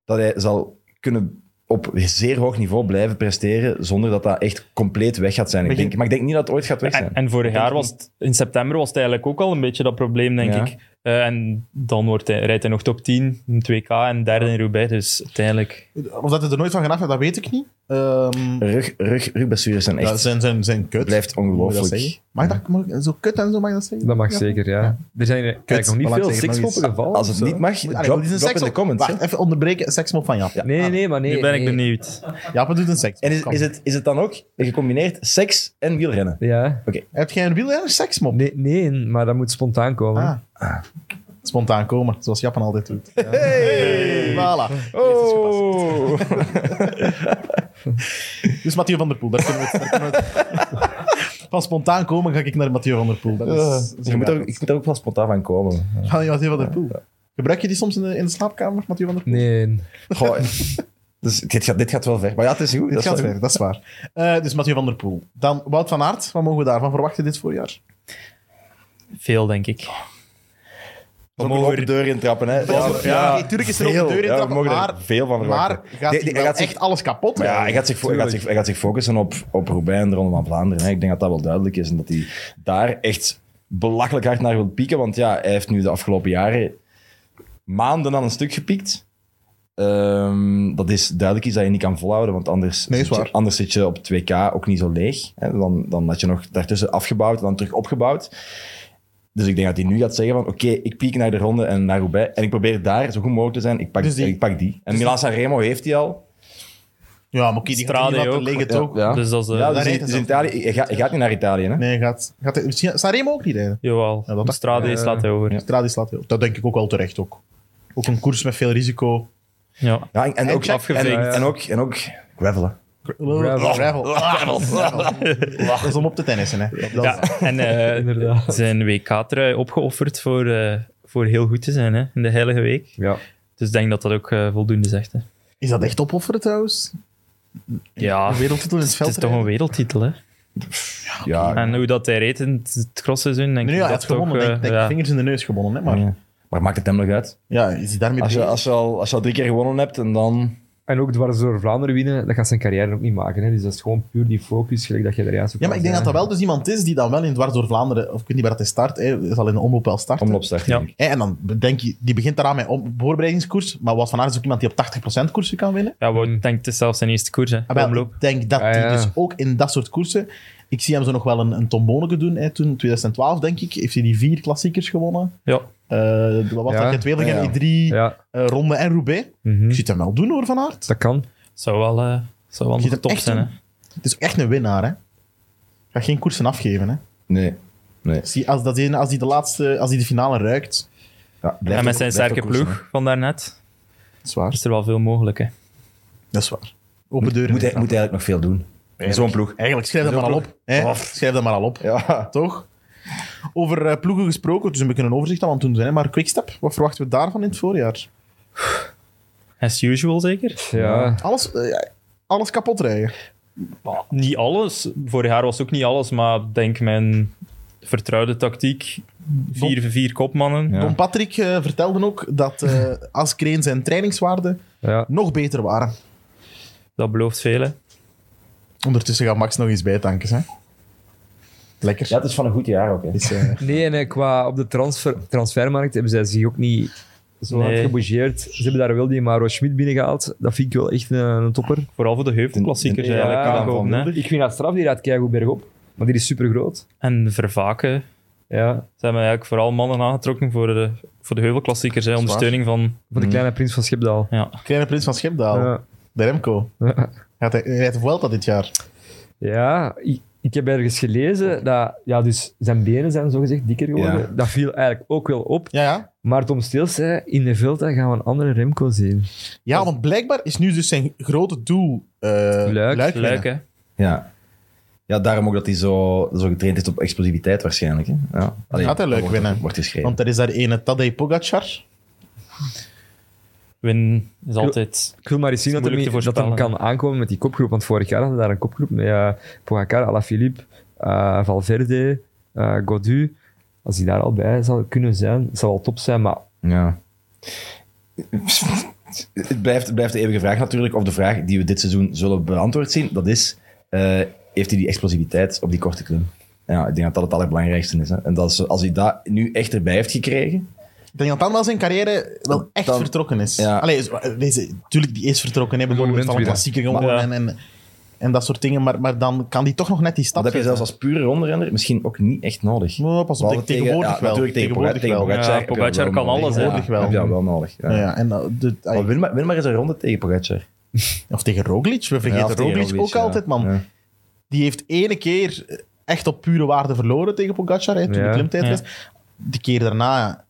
D: dat hij zal kunnen op zeer hoog niveau blijven presteren, zonder dat dat echt compleet weg gaat zijn. Ik denk, maar ik denk niet dat het ooit gaat weg zijn.
E: En, en vorig jaar was het, in september was het eigenlijk ook al een beetje dat probleem, denk
D: Ja.
E: ik. Eh, en dan wordt hij, rijdt hij nog top 10, in 2K en derde in Roubaix. Dus uiteindelijk...
B: Of dat hij er nooit van gedaan heeft, dat weet ik niet. Ehm,
D: Rug, rug, rugblessures zijn
B: dat
D: echt...
B: zijn, zijn, zijn kut.
D: blijft
B: Moet je dat
D: ongelooflijk.
B: zeggen? Mag dat, mag, ik- zo kut en zo mag je dat zeggen?
C: Dat mag zeker, ja. Er zijn er- kijk, nog niet
B: voilà,
C: veel
B: zeg het nog
C: sekspoppen
B: eens.
C: gevallen.
D: Als het
C: zo.
D: niet mag,
B: Allee,
D: drop,
B: dit is een
D: drop in
B: seksmop.
D: de comments. hè.
B: Wacht, even onderbreken. Seksmop van Jaap.
C: Nee, nee, nee, maar nee.
E: Ah, nu ben ik
C: nee.
E: benieuwd.
B: Jaap doet een seksmop.
D: En is,
B: Kom.
D: is, het, is het dan ook gecombineerd seks en wielrennen?
C: Ja.
B: Heb jij een wielrenner seksmop?
C: Nee, nee, maar dat moet spontaan komen.
B: Ah. Spontaan komen, zoals Japan altijd doet. Hey! Voilà.
D: Oh!
B: Dus Mathieu van der Poel, daar kunnen we het... daar kunnen we het- Van spontaan komen ga ik naar Mathieu van der Poel. Dat is,
D: Eh, Dus Je moet er, ik moet er ook wel spontaan van komen.
B: Van die Mathieu van der Poel. Gebruik je die soms in de, in de slaapkamer, Mathieu van der Poel?
C: Nee.
D: Goh, dus dit, gaat, dit gaat wel ver. Maar ja, het is goed.
B: Dat
D: Dat is
B: eh. gaat
D: wel
B: weer, dat is waar. Eh, dus Mathieu van der Poel. Dan Wout van Aert, wat mogen we daarvan verwachten dit voorjaar?
E: Veel, denk ik.
D: We mogen de deur intrappen. Hè. Ja,
B: Oké, tuurlijk is er op de
D: veel.
B: deur in
D: Ja, we
B: trappen,
D: mogen er
B: maar-
D: veel van
B: Maar
D: verwachten. Nee,
B: gaat hij
D: nee,
B: wel
D: hij gaat zich-
B: echt alles kapot?
D: Maar ja, hij
B: rijden?
D: gaat zich, fo- hij gaat zich, hij gaat zich focussen op, op Roubaix en de Ronde van Vlaanderen. Hè. Ik denk dat dat wel duidelijk is. En dat hij daar echt belachelijk hard naar wil pieken. Want ja, hij heeft nu de afgelopen jaren maanden aan een stuk gepiekt. Ehm, dat is duidelijk iets dat je niet kan volhouden. Want anders,
B: Nee, is
D: zit, je,
B: waar.
D: anders zit je op 2K ook niet zo leeg. Hè. Dan, dan had je nog daartussen afgebouwd en dan terug opgebouwd. Dus ik denk dat hij nu gaat zeggen van oké, ik piek naar de ronde en naar Roubaix. En ik probeer daar zo goed mogelijk te zijn. Ik pak
B: Dus die-
D: die. Ik pak die. En Milan Sanremo heeft hij al.
B: Ja, maar oké, die gaat
E: Strade
B: niet laten
E: ook.
D: Ja,
B: liggen, toch?
D: ja.
E: Dus dat is... eh,
D: Ja,
B: daar
D: dus, in,
B: rijdt
D: dus
B: hij
D: in Italië, je, gaat, je gaat niet naar Italië, hè?
B: Nee, gaat, gaat hij, misschien Sanremo ook niet rijden.
E: Jawel.
B: Ja, dat-
E: Strade
C: Eh,
E: slaat hij over. Ja.
B: Strade slaat heel. Dat denk ik ook wel terecht. Ook. ook een koers met veel risico.
D: Ja, en, en ook
B: check-
D: afgevinkt.
C: en-
D: En, en ook, en ook gravelen.
C: Gravel.
B: Oh, Gravel. Dat is om op te tennissen. Hè. Dat- dat-
E: Ja, en eh,
C: Inderdaad.
E: zijn WK-trui opgeofferd voor, eh, voor heel goed te zijn hè, in de Heilige Week.
C: Ja.
E: Dus ik denk dat dat ook eh, voldoende zegt. Hè.
B: Is dat echt opofferen trouwens?
E: Ja,
B: Een
E: Ah, het
B: wereldtitel in het veld.
E: is toch een wereldtitel. Hè?
D: Ja,
E: En hoe dat hij reed in het- het crossseizoen, denk
B: nu,
E: ik
B: ja, hij
E: dat
B: had gewonnen.
E: toch...
B: denk,
E: eh,
B: ik. denk
E: ja.
B: Vingers in de neus gewonnen. Hè, maar
D: Ja. maar maakt het hem nog uit?
B: ja, is hij daarmee
D: Als je,
B: bezig?
D: als, je al, als je al drie keer gewonnen hebt en dan.
C: En ook dwars door Vlaanderen winnen, dat gaat zijn carrière ook niet maken. Hè. Dus dat is gewoon puur die focus, gelijk dat je er juist ook
B: Ja, maar
C: al
B: ik denk dat
C: zei.
B: dat wel dus iemand is die dan wel in dwars door Vlaanderen, of ik weet niet waar dat hij start, hè, zal in de omloop wel starten.
D: omloopstart.
E: Ja.
D: denk ik.
B: Hè, En dan denk je, die begint daaraan met om- voorbereidingskoers, maar Wout van Aert is ook iemand die op 80% koersen kan winnen.
E: Ja, Wout, ik denk het is zelfs zijn eerste koers. Hè,
B: Ah, wel,
E: omloop.
B: ik denk dat
C: Ah,
B: hij
C: ja.
B: dus ook in dat soort koersen... Ik zie hem zo nog wel een, een tomboneke doen. Hè. Toen, 2012, denk ik, heeft hij die vier klassiekers gewonnen.
E: Ja.
B: Eh, wat was
C: Ja.
B: dat? Gent Wevelgem,
D: Ja, ja.
B: die drie
C: Ja,
B: eh, Ronde en Roubaix.
C: mhm.
B: Ik zie het hem wel doen, hoor, Van Aert.
C: dat kan.
E: Zou wel, eh, zou wel
B: Je ziet
E: nog
B: hem
E: top
B: echt
E: zijn. Hè.
B: Het is echt een winnaar, hè. Gaat geen koersen afgeven, hè.
D: Nee.
B: Zie, als, dat, een- als hij de laatste, als hij de finale ruikt,
D: Ja,
E: En met zijn sterke ploeg van daarnet
B: dat is waar.
E: is er wel veel mogelijk. Hè.
B: Dat is waar. Open deuren.
D: Moet hij, moet hij eigenlijk nog veel doen? In Zo'n ploeg.
B: Eigenlijk, schrijf dat maar al op. Hè?
D: Oh.
B: Schrijf dat maar al op.
D: Ja.
B: Toch? Over eh, ploegen gesproken, dus we kunnen een overzicht aan het doen zijn. Hè? Maar Quickstep, wat verwachten we daarvan in het voorjaar?
E: As usual zeker.
C: Ja.
B: Alles, eh, ja, alles kapot rijden.
E: Maar Niet alles. Vorig jaar was het ook niet alles, maar ik denk mijn vertrouwde tactiek. Vier, vier kopmannen.
D: Ja.
B: Don Patrick eh, vertelde ook dat eh als Kreen zijn trainingswaarden
C: ja.
B: nog beter waren.
E: Dat belooft veel. hè.
B: Ondertussen gaat Max nog eens bijtanken. Hè? Lekker.
D: Ja, het is van een goed jaar ook. Hè.
B: Dus, eh,
C: Nee, en eh, qua op de transfer, transfermarkt hebben zij zich ook niet zo hard
E: Nee.
C: gebougeerd. Ze hebben daar wel die Maro Schmid binnengehaald. Dat vind ik wel echt een, een topper.
E: Vooral voor de heuvelklassiekers
D: Ja,
E: eigenlijk.
C: ja,
E: kan
D: Van
E: komen, hè.
D: Wilder.
C: Ik vind dat straf, die rijdt keigoed bergop. Maar die is super groot.
E: En vervaken.
C: Ja.
E: Ze hebben eigenlijk vooral mannen aangetrokken voor de, voor de heuvelklassiekers. Hè. Ondersteuning van...
C: Voor de
D: Mm.
C: kleine prins van Schipdaal.
E: Ja.
B: Kleine prins van Schipdaal,
C: Ja.
B: de Remco. Gaat hij, hij rijdt de Vuelta dit jaar.
C: Ja, ik, ik heb ergens gelezen dat ja, dus zijn benen zijn zogezegd dikker geworden.
D: Ja.
C: Dat viel eigenlijk ook wel op.
B: Ja, ja.
C: Maar Tom Steels zei, in de Velta gaan we een andere Remco zien.
B: Ja, want blijkbaar is nu dus zijn grote doel eh
C: Luik.
B: luik winnen.
E: Luik, hè.
D: Ja. ja, daarom ook dat hij zo, zo getraind is op explosiviteit waarschijnlijk. Hè. Ja. Allee,
B: Gaat hij leuk
D: dat wordt-
B: winnen?
D: Wordt geschreven.
B: Want er is daar ene Tadej Pogacar.
E: Win is altijd...
C: Ik wil maar eens zien
E: Dat
C: dat
E: is
C: hem,
E: moeilijk te
C: dat hem
E: voorspellen,
C: kan aankomen met die kopgroep. Want vorig jaar hadden we daar een kopgroep met eh Pogacar, Alaphilippe, eh Valverde, eh Godu. Als hij daar al bij zou kunnen zijn, zou wel top zijn. Maar
D: Ja. het, blijft, het blijft de eeuwige vraag natuurlijk, of de vraag die we dit seizoen zullen beantwoord zien, dat is, eh, heeft hij die explosiviteit op die korte klim? Ja, ik denk dat dat het allerbelangrijkste is. Hè? En dat is, als hij dat nu echt erbij heeft gekregen,
B: denk dat dan wel zijn carrière wel echt
D: Dan-
B: vertrokken is.
D: Ja.
B: Allee, is- deze, tuurlijk, die is vertrokken. Hè, bedoel,
C: Een
B: die heeft
C: moment
B: al een
C: weer,
B: klassieker gewonnen
E: Maar-
B: en, en, en dat soort dingen. Maar, maar dan kan die toch nog net die stap
D: Dat heb je zelfs als pure rondrenner misschien ook niet echt nodig.
B: Oh, pas op,
D: Behalve
B: tegen- tegenwoordig
D: ja,
B: wel.
D: Natuurlijk tegen,
B: Tegenwoordig
D: Poga- tegen
B: wel.
D: Pogacar.
E: Ja, Pogacar
D: heb je
E: kan
D: wel
E: alles,
D: nodig.
B: hè.
D: Ja, heb je dat wel nodig. Ja.
B: Ja, en, dat- de,
D: Maar win, maar, win maar eens een ronde tegen Pogacar.
B: of tegen Roglic. We
D: Ja,
B: vergeten
D: of tegen
B: Roglic,
D: Roglic,
B: ook
D: ja.
B: altijd, man.
D: Ja.
B: Die heeft ene keer eh, echt op pure waarde verloren tegen Pogacar, hè, toen
C: Ja.
B: de klimtijd
E: Ja.
B: was. De keer daarna,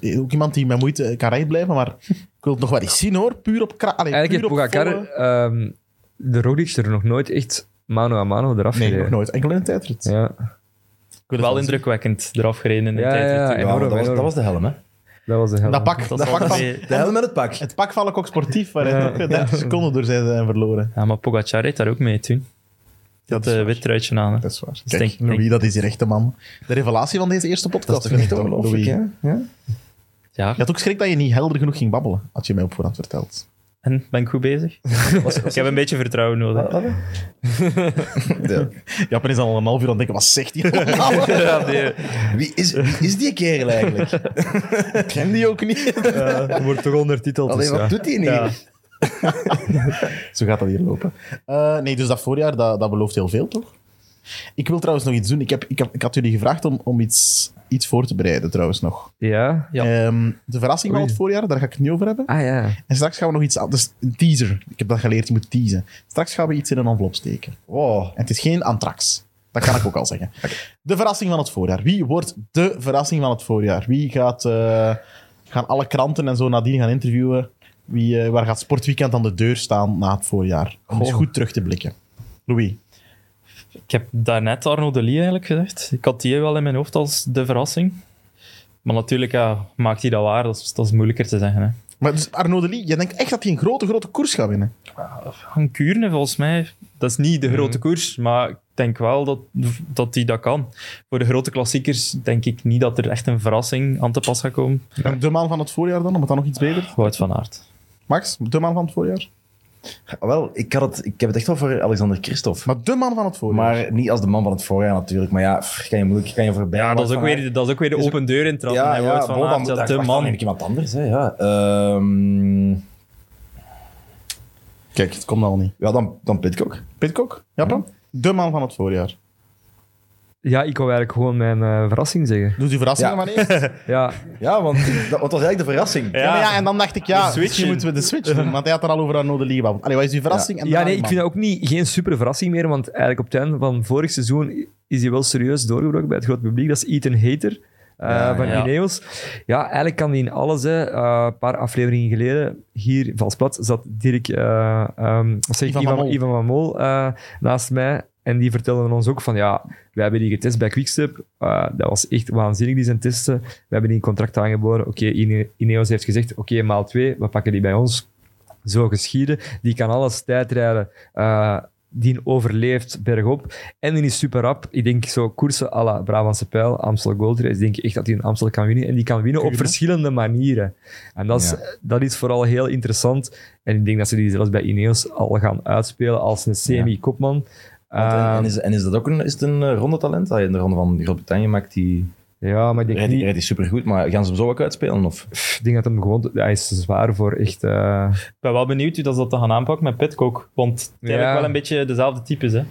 B: eh, ook iemand die met moeite kan recht blijven, maar ik wil het nog wel eens zien, hoor. Puur op kracht.
C: Eigenlijk heeft Pogacar ehm, de Roglic er nog nooit echt mano a mano eraf
B: Nee, nog
C: gereden.
B: nooit. Enkel in een tijdrit.
C: Ja,
B: Ik wil het
E: Wel
B: zien.
E: indrukwekkend eraf gereden in de
C: Ja,
E: tijd.
C: ja,
E: natuurlijk.
D: Ja,
C: enorm,
D: dat, was,
C: enorm.
D: dat was de helm, hè?
C: dat was de hel.
B: Dat pak, dat
E: Dat zal
B: pak van,
E: mee-
D: De helm met het pak.
B: het pak van ook sportief, waar hij ook 30 seconden door zijn zijn verloren.
E: Ja, maar Pogacar reed daar ook mee toen.
B: Dat
E: Dat eh, wit truitje aan. hè.
B: Dat is waar.
E: Dus
B: Kijk,
E: denk-
B: Louis, dat is hier echt de man. De revelatie van deze eerste podcast.
D: Dat is toch echt
B: toch,
D: ongelooflijk,
B: Louis?
D: hè? Ja?
E: Ja,
B: Je had ook schrik dat je niet helder genoeg ging babbelen, had je mij op voorhand verteld.
E: en ben ik goed bezig? ik heb een beetje vertrouwen nodig.
D: Wat- wat? Ja.
B: Japan is al een half uur aan het denken, wat zegt hij allemaal?
E: Ja, nee.
D: Wie is, wie is die kerel eigenlijk?
B: Ik ken die ook niet.
C: wordt toch ondertiteld. dus
D: Alleen, wat doet hij nu?
E: Ja.
B: Zo gaat dat hier lopen. Eh, nee, dus dat voorjaar, dat, dat belooft heel veel, toch? Ik wil trouwens nog iets doen. Ik, heb, ik, heb, ik had jullie gevraagd om, om iets, iets voor te bereiden, trouwens nog.
C: Ja?
E: Ja.
B: Ehm, de verrassing van
C: Oei.
B: het voorjaar, daar ga ik het niet over hebben.
C: Ah ja.
B: En straks gaan we nog iets aan. Dus een teaser. Ik heb dat geleerd, je moet teasen. Straks gaan we iets in een envelop steken.
D: Wow.
B: En het is geen antrax. Dat kan ik ook al zeggen. De verrassing van het voorjaar. Wie wordt de verrassing van het voorjaar? Wie gaat eh, gaan alle kranten en zo nadien gaan interviewen? Wie, eh, waar gaat Sportweekend aan de deur staan na het voorjaar? Om eens
C: Goh.
B: goed terug te blikken. Louis,
E: Ik heb daarnet Arno de Lee eigenlijk gezegd. Ik had die wel in mijn hoofd als de verrassing. Maar natuurlijk ja, maakt hij dat waar. Dat is, dat is moeilijker te zeggen. Hè.
B: maar dus Arnaud de Lee, jij denkt echt dat hij een grote, grote koers gaat winnen?
E: Van Kuurne, volgens mij, dat is niet de
D: Mhm.
E: grote koers. Maar ik denk wel dat dat hij dat kan. Voor de grote klassiekers denk ik niet dat er echt een verrassing aan te pas gaat komen.
B: En de man van het voorjaar dan, om het dan nog iets beter?
E: Wout van Aert.
B: Max, de man van het voorjaar?
D: Wel, ik, had het, ik heb het echt wel voor Alexander Christophe.
B: Maar de man van het voorjaar.
D: Maar niet als de man van het voorjaar natuurlijk. Maar ja, pff, kan je moeilijk kan je voorbij.
E: Ja, dat is, ook
D: Van Aert-
E: weer, dat is ook weer de
D: is ook-
E: open deur in trappen.
D: Ja,
E: hè.
D: ja,
E: Wout van Aert, ja, de man.
D: iemand anders, hè. Ja, Ehm,
B: Kijk, het komt al niet.
D: ja dan, dan Pitcock.
B: Pitcock, Japan? De man van het voorjaar.
C: Ja, ik wou eigenlijk gewoon mijn eh, verrassing zeggen.
B: Doe die verrassing
D: Ja.
B: maar eerst.
C: Ja,
D: Ja, want dat, want dat was eigenlijk de verrassing.
B: Ja, maar ja, en dan dacht ik,
E: De
B: ja,
E: switch
B: misschien
E: in.
B: moeten we de switch doen. Want hij had er al over Arnaud de Lee gebabbeld. Allee, wat is uw verrassing? En
C: ja
B: daarna
C: nee, ik
B: die
C: vind
B: man.
C: dat ook niet, geen super verrassing meer, want eigenlijk op het einde van vorig seizoen is hij wel serieus doorgebroken bij het grote publiek. Dat is Ethan Hater eh,
D: Ja,
C: van
E: ja.
C: Ineos. Ja, eigenlijk kan hij in alles. hè. Eh, Een paar afleveringen geleden, hier in Valsplat, zat Dirk, eh, ehm, wat zeg ik,
B: Ivan van
C: Ivan
B: Mol.
C: Ivan van Mol eh, naast mij. En die vertelden ons ook van, ja, wij hebben die getest bij Quickstep. Eh, dat was echt waanzinnig, die zijn testen. We hebben die een contract aangeboden. Oké, Ine- Ineos heeft gezegd, oké, maal twee, we pakken die bij ons zo geschieden. Die kan alles tijdrijden. eh die overleeft bergop. En die is super rap. Ik denk zo koersen à la Brabantse Pijl, Amstel Gold Race. Denk ik echt dat hij een Amstel kan winnen. En die kan winnen op verschillende manieren. En dat is, dat is vooral heel interessant. En ik denk dat ze die zelfs bij Ineos al gaan uitspelen als een semi-kopman.
D: Want en, en
C: Ehm,
D: is, en is dat ook een, is het een eh, rondetalent dat je in de ronde van Groot-Brittannië maakt? Die
C: ja, maar ik denk,
D: rijdt
C: niet,
D: die rijdt die supergoed, maar gaan ze hem zo ook uitspelen? Of?
C: ik denk dat hem gewoon... Hij is te zwaar voor echt... eh,
E: Ik ben wel benieuwd hoe dat ze dat dan gaan aanpakken met Pitcock. Want het zijn
C: Ja.
E: eigenlijk wel een beetje dezelfde types. Hè.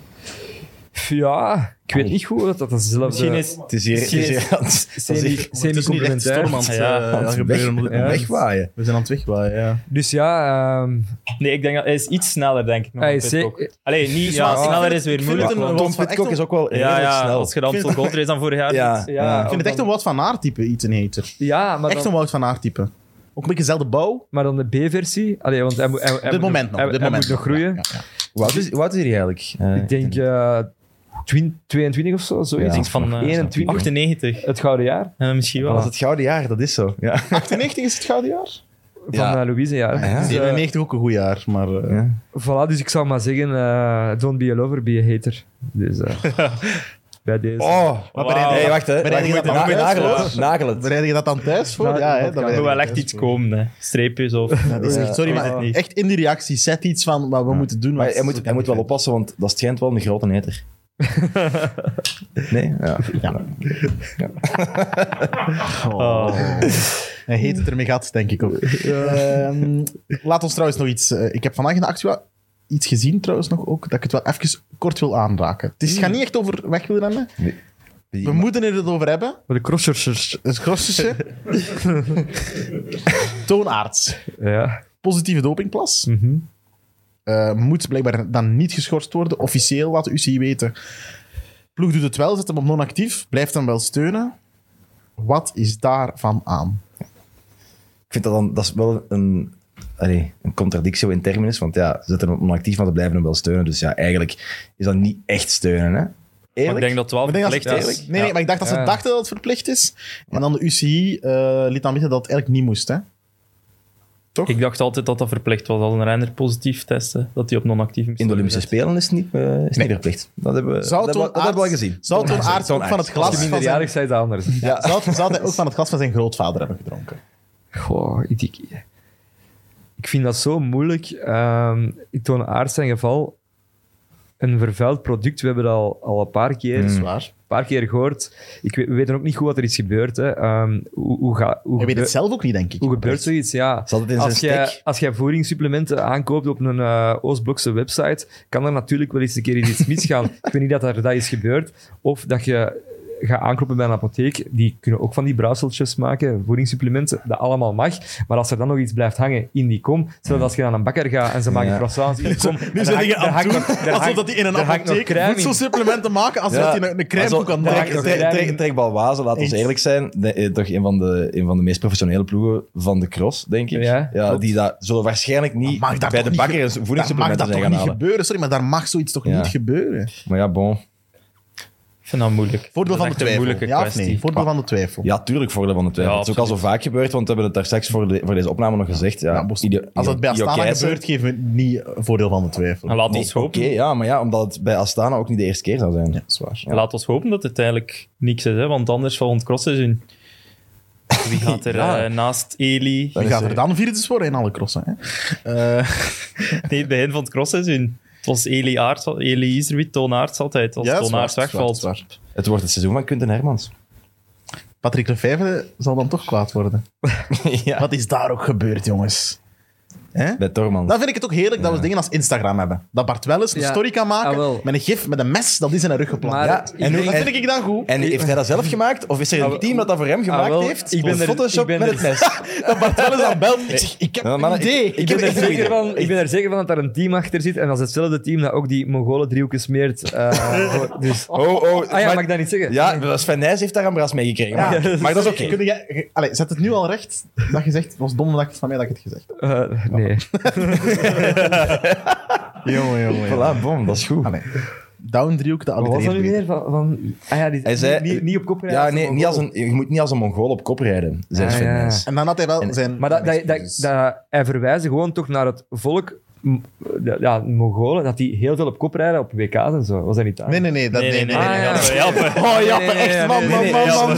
C: ja, ik weet niet goed dat eh, dat dezelfde...
E: Misschien is
D: Het is hier... Het is hier- dat is hier-
C: semi- Semi-complementair.
B: Stormans, eh,
E: Ja,
B: aan het gebeuren op dit
C: ja.
B: moment.
D: Wegwaaien.
B: We zijn aan het wegwaaien, ja.
C: Dus ja, ehm,
E: Nee, ik denk dat hij is iets sneller, denk ik. Nog
C: Hij
E: dan
C: is
E: Pitcock.
C: zeker-
E: Allee, niet, ja,
B: maar-
E: sneller is
B: ik
E: weer
B: vind
E: moeilijk.
B: het een-
E: want-
B: was
D: Tom
B: van
D: Pitcock
B: echt
D: is ook wel
E: ja,
D: redelijk
E: ja,
D: snel.
E: als je dan Amstel Gold Race dan vorig jaar
D: Ja.
E: doet.
C: ja,
B: Ik vind het echt een Wout van Aert-type, Ethan Hater.
C: Ja, maar
B: Echt een
C: dan,
B: Wout van Aert-type. Ook een beetje dezelfde bouw.
C: maar dan de B-versie. Allee, want hij, moet- hij, hij
B: Op dit
C: moet
B: moment
C: nog,
B: nog.
C: hij,
B: op dit
C: hij
B: moment
C: moet nog groeien.
B: Ja, ja, ja.
D: Hoe oud is, hoe oud is hij eigenlijk? Eh,
C: Ik denk eh, twin- 22 of zo, zoiets.
D: Ja.
E: Iets van eh,
C: 21.
E: 98.
C: Het gouden jaar
E: Eh, misschien
D: Dat
E: wel.
D: was het gouden jaar, dat is zo. Ja.
B: 98 is het gouden jaar.
C: van
D: Ja.
C: eh, Louise, ja.
B: Ah,
D: Ja.
C: Dus, eh,
B: 97 ook een goed jaar, maar... eh,
D: Ja.
C: voilà, dus ik zou maar zeggen, eh, don't be a lover, be a hater. Dus eh, bij deze.
D: Oh,
E: Wauw.
D: hey, wacht hè.
B: Bereid je
D: Wacht,
B: dat
D: na-
B: dan ook
D: nagel
B: uit,
D: het, Nagel het.
B: Bereid je dat dan thuis voor?
C: Nou,
B: Ja, hè, dat
C: dat kan.
E: er
B: bereid
E: moet
B: je
E: wel
B: thuis
E: echt iets
B: voor.
E: komen, hè. streepjes of...
B: Ja, die zegt, sorry,
E: Ja.
B: maar
E: Ja.
B: echt in die reactie. Zet iets van wat we moeten doen.
D: Maar
B: want-
D: hij moet, hij moet wel oppassen, want dat schijnt wel een grote neter. Nee? Ja.
B: Ja. Oh. Hij heet het ermee gaat, denk ik ook. Ehm, laat ons trouwens nog iets... eh, ik heb vandaag in de Actua iets gezien trouwens nog ook, dat ik het wel even kort wil aanraken. Het is, gaat niet echt over wegwielrennen. We moeten het over hebben.
C: Voor de crossers.
B: Het grosseste. Toonaards.
C: Ja.
B: Positieve dopingplas.
C: Mhm.
B: Eh, moet blijkbaar dan niet geschorst worden. Officieel laat de UCI weten. Ploeg doet het wel, zet hem op non-actief. Blijft hem wel steunen. Wat is daarvan aan?
D: Ik vind dat dan, dat is wel een, allee, een contradictio in terminus, want ja, ze zetten hem onactief, maar ze blijven hem wel steunen. Dus ja, eigenlijk is dat niet echt steunen, hè?
E: Maar ik
D: Eerlijk?
E: denk dat 12
B: Ik denk dat
E: verplicht
B: het
E: is.
B: eerlijk- Nee, nee,
E: Ja.
B: maar ik dacht dat ze
C: Ja.
B: dachten dat het verplicht is. En dan de UCI eh, liet dan weten dat het eigenlijk niet moest. Hè? toch?
E: Ik dacht altijd dat dat verplicht was. Als een renner positief testen, dat hij op non-actief moest
D: In de
E: worden
D: Olympische
E: gezet.
D: Spelen is het niet, eh, is niet verplicht. Dat hebben we, dat
B: Zou
D: hebben we, dat
B: Toon
D: hebben we al
B: Aerts-
D: gezien.
B: zou Toon Aerts ook van het glas-
C: Als je minderjarig bent, is het anders.
B: Ja. Zou, zou hij ook van het glas van zijn grootvader hebben gedronken?
C: Goh, ik, ik, ik vind dat zo moeilijk. Ehm ik toon aard zijn geval een vervuild product. We hebben dat al, al een paar keer,
B: Dat is
C: een
B: waar.
C: paar keer gehoord. Ik weet, we weten ook niet goed wat er is gebeurd. Hè. Ehm, hoe, hoe, ga, hoe,
B: Hij weet het
C: gebeur-
B: zelf ook niet, denk ik.
C: hoe gebeurt zoiets? Ja.
D: Zat het in zijn
C: Als jij,
D: stek?
C: als jij voedingssupplementen aankoopt op een eh Oostblokse website, kan er natuurlijk wel eens een keer iets misgaan. ik weet niet dat er dat is gebeurd. Of dat je gaat aankloppen bij een apotheek, die kunnen ook van die bruiseltjes maken, voedingssupplementen, dat allemaal mag. Maar als er dan nog iets blijft hangen in die kom, zodat als je aan een bakker gaat en ze maken
D: Ja.
C: croissants in die kom...
B: Nu
C: en
B: zijn
C: daar
B: je aan
C: hangt-
B: het doen
C: daar hangt nog- daar
B: alsof
C: hangt-
B: dat die in een
C: daar hangt nog
B: apotheek
C: crème in.
B: voedselsupplementen maken alsof dat die een, een crème
D: Zo,
B: toe kan
D: trek-
C: daar-
B: maken.
D: trek-
C: daar-
D: trek- Trekbal Wazen, laat ons
B: Eens.
D: eerlijk zijn, de- eh, toch een van de, een van de meest professionele ploegen van de cross, denk ik.
C: Ja, klopt.
D: die dat, zullen waarschijnlijk niet
B: mag dat
D: bij
B: toch
D: de
B: niet
D: bakker
B: ge-
D: een
B: Daar mag
D: voedingssupplementen
B: dat
D: zijn
B: toch
D: gaan
B: niet
D: halen.
B: gebeuren? Sorry, maar daar mag zoiets toch
D: Ja.
B: niet gebeuren?
D: Maar ja, bon.
E: Ik vind dat moeilijk.
B: Voordeel
E: Dat
B: van
E: is
B: de
E: echt een
B: twijfel.
E: moeilijke
B: Ja of
E: kwestie.
B: nee? Voordeel van de twijfel.
D: Ja, tuurlijk, voordeel van de twijfel.
E: Ja,
D: het is ook al zo vaak gebeurd, want we hebben het daar straks voor, de- voor deze opname nog gezegd. Ja,
B: Ja, moest-
D: Ido-
B: Nou, als het bij
D: Ido
B: Astana
D: Keijzer-
B: gebeurt, geven we het niet eh, voordeel van de twijfel.
E: En laat
D: Nee,
E: ons
D: Oké,
E: hopen.
D: ja, maar ja, omdat het bij Astana ook niet de eerste keer zou zijn.
B: Ja, zwaar.
D: Ja.
E: Laat ons hopen dat het eigenlijk niks is, hè? want anders volgend crossseizoen. Wie gaat er
D: Ja.
E: eh, naast Eli?
B: Wie
D: is,
B: gaat er
D: eh,
B: dan vierdes voor in alle crossen? Hè? Eh,
E: Nee, het begin van het crossseizoen. Het was Eli Aerts, Eli Iserwit, Toon Aerts altijd. Als
B: ja, dat is
E: Toon
B: waar,
E: Aerts
B: dat is waar, dat
E: wegvalt.
B: is waar.
D: Het wordt het seizoen van Quinten Hermans.
B: Patrick Lefevre zal dan toch kwaad worden.
D: ja.
B: Wat is daar ook gebeurd, jongens? Hè?
D: Bij Tormans.
B: Dan vind ik het ook heerlijk dat we dingen als Instagram hebben. Dat Bart Welles een
C: Ja,
B: story kan maken
C: ah, wel.
B: met een gif, met een mes, dat is in een rug geplant.
C: Maar
B: Ja,
C: ik
B: en hoe-
C: denk-
B: dat vind ik dan goed.
D: En heeft hij dat zelf gemaakt? Of is er
C: Ah,
D: een
C: wel-
D: team dat dat voor hem gemaakt
C: Ah, wel,
D: heeft?
C: ik ben
D: Een
C: er-
D: Photoshop
C: ik ben
D: met
C: er-
D: het mes.
B: Dat Bart Welles dan belt. Ik zeg, ik heb
D: Ja, maar
B: een
D: ik-
B: idee. Ik,
D: ik
C: Ik
B: heb
C: ben, er
B: een idee.
C: zeker van, ik ben er zeker van dat daar een team achter zit. En dat is hetzelfde team dat ook die Mongolen driehoeken smeert. eh, voor- dus.
D: Oh, oh.
C: Ah ja, mag ik dat niet zeggen?
D: Ja, Sven Nijs heeft daar een bras mee gekregen. Maar, maar dat is oké.
B: Kun jij- ge- allee, zet het nu al recht dat je zegt, het was dom dat ik- van mij dat ik het gezegd heb.
C: Eh, nee.
B: Jongen, jongen.
D: Voilà, bom, dat is goed.
B: Down driehoek, de
C: Wat was dat nu
B: allitereert
C: weer? Van, van, ah ja, die,
D: Hij zei-
C: niet, niet op kop rijden.
D: Ja,
C: als
D: nee,
C: een
D: niet als
C: Mongool.
D: een, je moet niet als een Mongool op kop rijden, zei
C: Ah,
D: Sven
C: ja.
D: Nijs.
B: En dan had hij wel zijn...
C: Maar dat, dat, dat,
B: excuses.
C: dat- hij verwijzen gewoon toch naar het volk, m- ja, Mongolen, dat die heel veel op kop rijden op WK's en zo. Was dat niet daar?
B: Nee, nee, nee. Dat,
E: Nee, nee, nee.
C: Ah,
E: nee,
C: ja.
E: dat zou helpen.
B: Oh,
C: Nee,
B: Jappe,
C: nee, nee,
B: echt,
C: nee,
B: man,
C: nee,
B: man,
C: nee,
B: man,
D: nee,
B: man,
D: Jappe.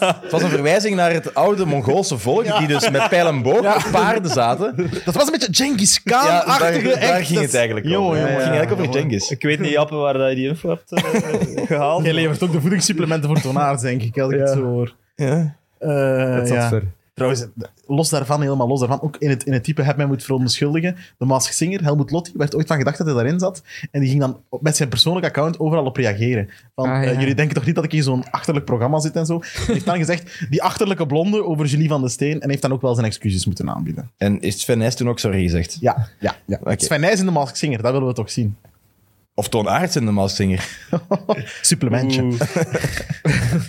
B: man.
D: Het was een verwijzing naar het oude Mongoolse volk, die dus met pijl en boog op paarden zaten.
B: Dat was een beetje Genghis
D: Ja, daar,
B: Khan-achtige...
D: daar
B: echt,
D: ging
B: dat-
D: het eigenlijk over. Ja,
B: Jongen, jongen.
D: Het ging eigenlijk over Genghis.
E: Ik weet niet, Jappe, waar dat je die info hebt eh, gehaald.
B: Jij levert ook de voedingssupplementen voor tonaars, denk ik, als ik het
C: Ja.
B: zo hoor.
D: Ja.
B: Eh,
C: dat zat
B: ja.
C: ver.
B: Trouwens, los daarvan, helemaal los daarvan, ook in het, in het type heb mij moet verontschuldigen. De Mask Singer, Helmut Lotti, werd ooit van gedacht dat hij daarin zat. En die ging dan op- met zijn persoonlijk account overal op reageren. Van,
C: Ah, ja.
B: eh, jullie denken toch niet dat ik in zo'n achterlijk programma zit en zo? Hij heeft dan gezegd, die achterlijke blonde over Julie van de Steen. En heeft dan ook wel zijn excuses moeten aanbieden.
D: En heeft Sven Nijs toen ook sorry gezegd?
B: Ja, ja, ja.
D: Oké.
B: Sven Nijs in de Mask Singer, dat willen we toch zien.
D: Of Toon Aerts in de Maaszinger?
B: Supplementje.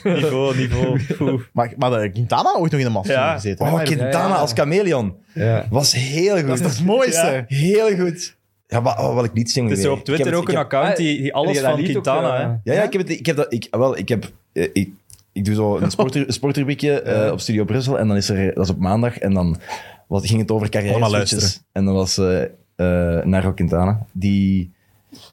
E: niveau, niveau. Oeh.
B: Maar, maar de Quintana ooit nog in de Mask Singer
E: Ja.
B: gezeten. Ah, hè?
D: Oh,
B: Maar-
D: Quintana als chameleon.
C: Ja.
D: Was heel goed.
B: Dat is toch het mooiste?
E: Ja.
D: Heel goed. Ja, maar oh, wat ik niet zing.
E: Het is zo
D: weer.
E: op
D: Ik
E: Twitter
D: heb het-
E: ook
D: ik
E: een
D: heb-
E: account die, die alles
C: Heb je dat
E: van
C: lied ook,
E: Quintana.
C: eh,
E: hè.
D: Ja, ja, ik heb het. Ik heb dat. Ik, wel, ik heb. eh, Ik, ik doe zo een sportru- een sportrubriekje eh, op Studio Brussel en dan is er. Dat is op maandag en dan was, ging het over carrière
B: Allemaal
D: switches. En dan was eh eh Nairo Quintana die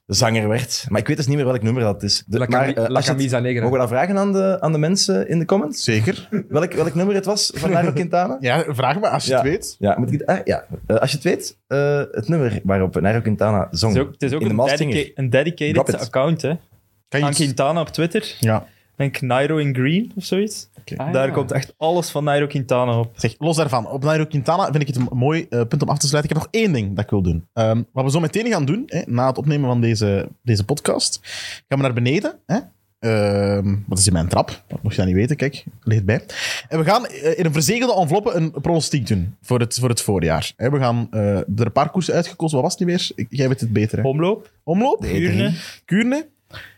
D: zanger werd. Maar ik weet dus niet meer welk nummer dat is. De,
C: La
D: maar,
C: Cami-
D: eh,
C: La
D: als je het-
C: Camisa Negra.
D: Mogen we dat vragen aan de, aan de mensen in de comments?
B: Zeker.
D: Welk, welk nummer het was van Nairo Quintana?
B: Ja, vraag me als je
D: Ja.
B: het weet.
D: Ja, moet ik, het- ah, ja. Eh, als je het weet, eh, het nummer waarop Nairo Quintana zong.
E: Het is ook, het is ook
D: in de
E: een,
D: Masked Singer.
E: dedica- een
D: Drop
E: dedicated
D: it.
E: account. Hè.
B: Kan je
E: aan
B: iets-
E: Quintana op Twitter.
B: Ja.
E: Denk Nairo in Green of zoiets.
C: Ah,
E: Daar
C: ja.
E: komt echt alles van Nairo Quintana op.
B: Zeg, los daarvan, op Nairo Quintana vind ik het een mooi eh, punt om af te sluiten. Ik heb nog één ding dat ik wil doen. Ehm, wat we zo meteen gaan doen, hè, na het opnemen van deze, deze podcast, gaan we naar beneden. Hè? Ehm, wat is in mijn trap? Dat mocht je dat niet weten, kijk, ligt bij. En we gaan eh, in een verzegelde enveloppe een pronostiek doen voor het, voor het voorjaar. Hè, we gaan eh, er een paar koersen uitgekozen. Wat was het niet meer? Ik- Jij weet het beter. Hè?
E: Omloop,
B: Omloop,
E: Kuurne,
B: Kuurne,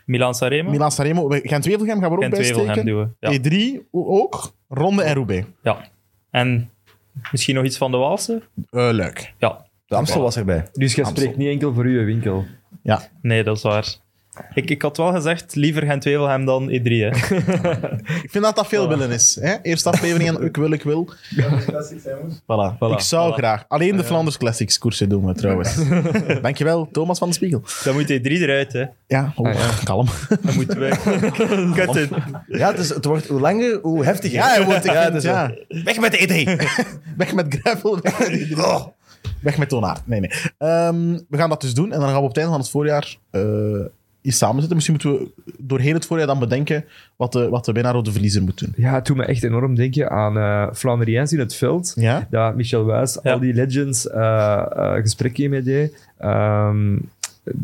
E: Milan Sarema,
B: Milan Saremo, Gent-Wevelgem gaan we er ook
E: Gent
B: bij
E: Wevelgem
B: steken.
E: duwen. Ja.
B: E3 ook, Ronde en Roubaix.
E: ja. En misschien nog iets van de Waalse?
B: Eh, leuk.
E: Ja.
D: De Amstel was erbij.
C: Dus jij
B: Amstel.
C: spreekt niet enkel voor uw winkel.
B: Ja.
E: Nee, dat is waar. Ik, ik had wel gezegd, liever Gent Wevelgem dan E3. Hè.
B: Ik vind dat dat veel willen is. Hè? Eerste aflevering en ik wil, ik wil. Voilà.
E: Voilà,
B: Ik zou
E: voilà.
B: graag. Alleen de Flanders Classics koersen doen we trouwens. Dankjewel, Thomas van de Spiegel.
E: Dan moet E3 eruit, hè.
B: Ja, oh,
C: Ah, ja.
B: kalm.
E: Dan moeten we... Kut het.
D: Ja, dus het wordt hoe langer, hoe heftiger.
B: Ja, hij wordt, ik vind-
D: dus,
B: ja.
D: Weg met de E3.
B: Weg met gravel, weg met, iedereen. weg met toonaard. Nee, nee. Ehm, we gaan dat dus doen en dan gaan we op het einde van het voorjaar eh iets samen zitten. Misschien moeten we doorheen het voorjaar dan bedenken wat de, wat de winnaar of de verliezer moet doen.
C: Ja, het doet me echt enorm denken aan eh Flammeriens in het veld.
B: Ja?
C: Dat Michel Wuis
E: Ja.
C: al die legends eh, eh, gesprekje mee deed. Ehm,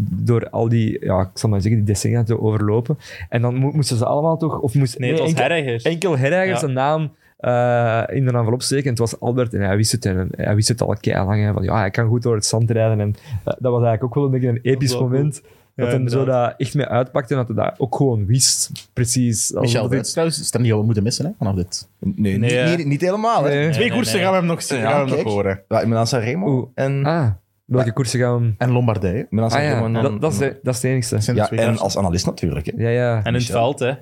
C: door al die, ja, ik zal maar zeggen, die decennia te overlopen. En dan mo- moesten ze allemaal toch... Of moest,
E: Nee, het was
C: enkel-
E: Herreger.
C: Dus enkel Herreiger
E: Ja.
C: zijn naam eh, in de envelop steken. En het was Albert en hij wist het. En hij wist het al keilang. hè, Van, ja, hij kan goed door het zand rijden. En eh, dat was eigenlijk ook wel een beetje een episch
E: wel cool.
C: moment. Dat hij zo
E: inderdaad.
C: dat echt mee uitpakte en dat hij dat ook gewoon wist. Precies. Alsof
B: Michel
C: het-
B: Wuits trouwens, is dat niet wat we moeten missen hè, vanaf dit.
D: Nee,
E: Nee,
D: niet,
E: ja.
D: niet, niet helemaal. Hè.
C: Nee.
E: Twee koersen gaan
B: we hem nog,
D: gaan we hem nog
B: horen.
D: Ja, in Milan Sanremo
C: Oeh.
D: en
C: Ah, welke koersen gaan we... hem-
B: En Lombardije.
D: Milan
C: Ah
D: Sanremo
C: ja,
D: en dan-
C: dat, dat, is de, dat is de enigste.
B: Dat zijn de
D: ja,
B: twee
D: en
B: koersen.
D: als analist natuurlijk. Hè.
C: Ja, ja.
E: En in het
D: Michel.
E: veld, hè.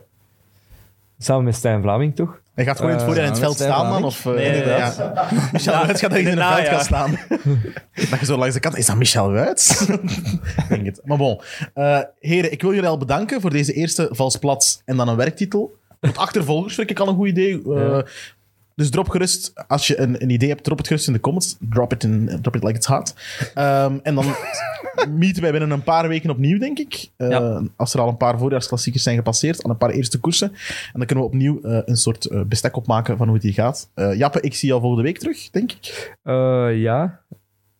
C: Samen met Stijn Vlaming, toch?
B: Hij gaat gewoon in het
C: Eh,
B: voorjaar in het
D: ja,
B: veld
D: dat is
B: staan,
D: helemaal
B: man?
D: niks.
B: Of, eh,
E: Nee, inderdaad.
B: ja. Michel Wuits gaat dat in
E: in
B: het
E: het
B: veld
E: najaar.
B: gaan staan. dat je zo langs de kant... Is dat Michel Wuits? Ik denk het. Maar bon. Eh, heren, ik wil jullie al bedanken voor deze eerste Vals Plat en dan een werktitel. Want achtervolgers vind ik al een goed idee. Eh,
C: Ja.
B: Dus drop gerust, als je een, een idee hebt, drop het gerust in de comments. Drop it, in, drop it like it's hot. Ehm, en dan meeten wij binnen een paar weken opnieuw, denk ik. Eh,
E: Ja.
B: Als er al een paar voorjaarsklassiekers zijn gepasseerd, al een paar eerste koersen. En dan kunnen we opnieuw eh, een soort eh, bestek opmaken van hoe het hier gaat. Eh, Jappe, ik zie jou volgende week terug, denk ik.
C: Eh, ja.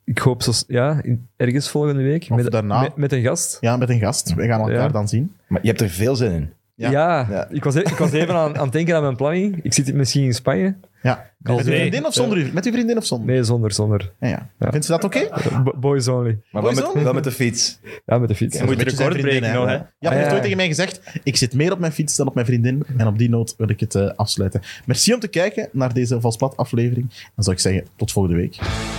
C: Ik hoop zo... Ja, in- ergens volgende week.
B: Of
C: met,
B: daarna.
C: Met, met een gast.
B: Ja, met een gast. Wij gaan elkaar
C: Ja.
B: dan zien.
D: Maar je hebt er veel zin in.
B: Ja.
C: Ja,
D: Ja.
C: Ik, was, e- ik was even aan, aan het denken aan mijn planning. Ik zit misschien in Spanje.
B: Ja.
C: Als
B: Met uw
E: wij-
B: vriendin of zonder u? Met uw vriendin of zonder?
C: Nee, zonder, zonder.
B: Ja, ja.
C: Ja.
B: Vindt ze dat oké?
C: B- Boys only.
D: Maar wel
B: Hoezo?
D: met, wel met de fiets.
C: Ja, met de fiets.
E: Je moet
B: Een beetje zijn
E: record
B: vriendin,
E: breken nog, hè.
B: Ja, hij
C: Ah,
B: heeft
C: ja.
B: ooit tegen mij gezegd, ik zit meer op mijn fiets dan op mijn vriendin. En op die noot wil ik het eh, afsluiten. Merci om te kijken naar deze Valsplat aflevering. Dan zou ik zeggen, tot volgende week.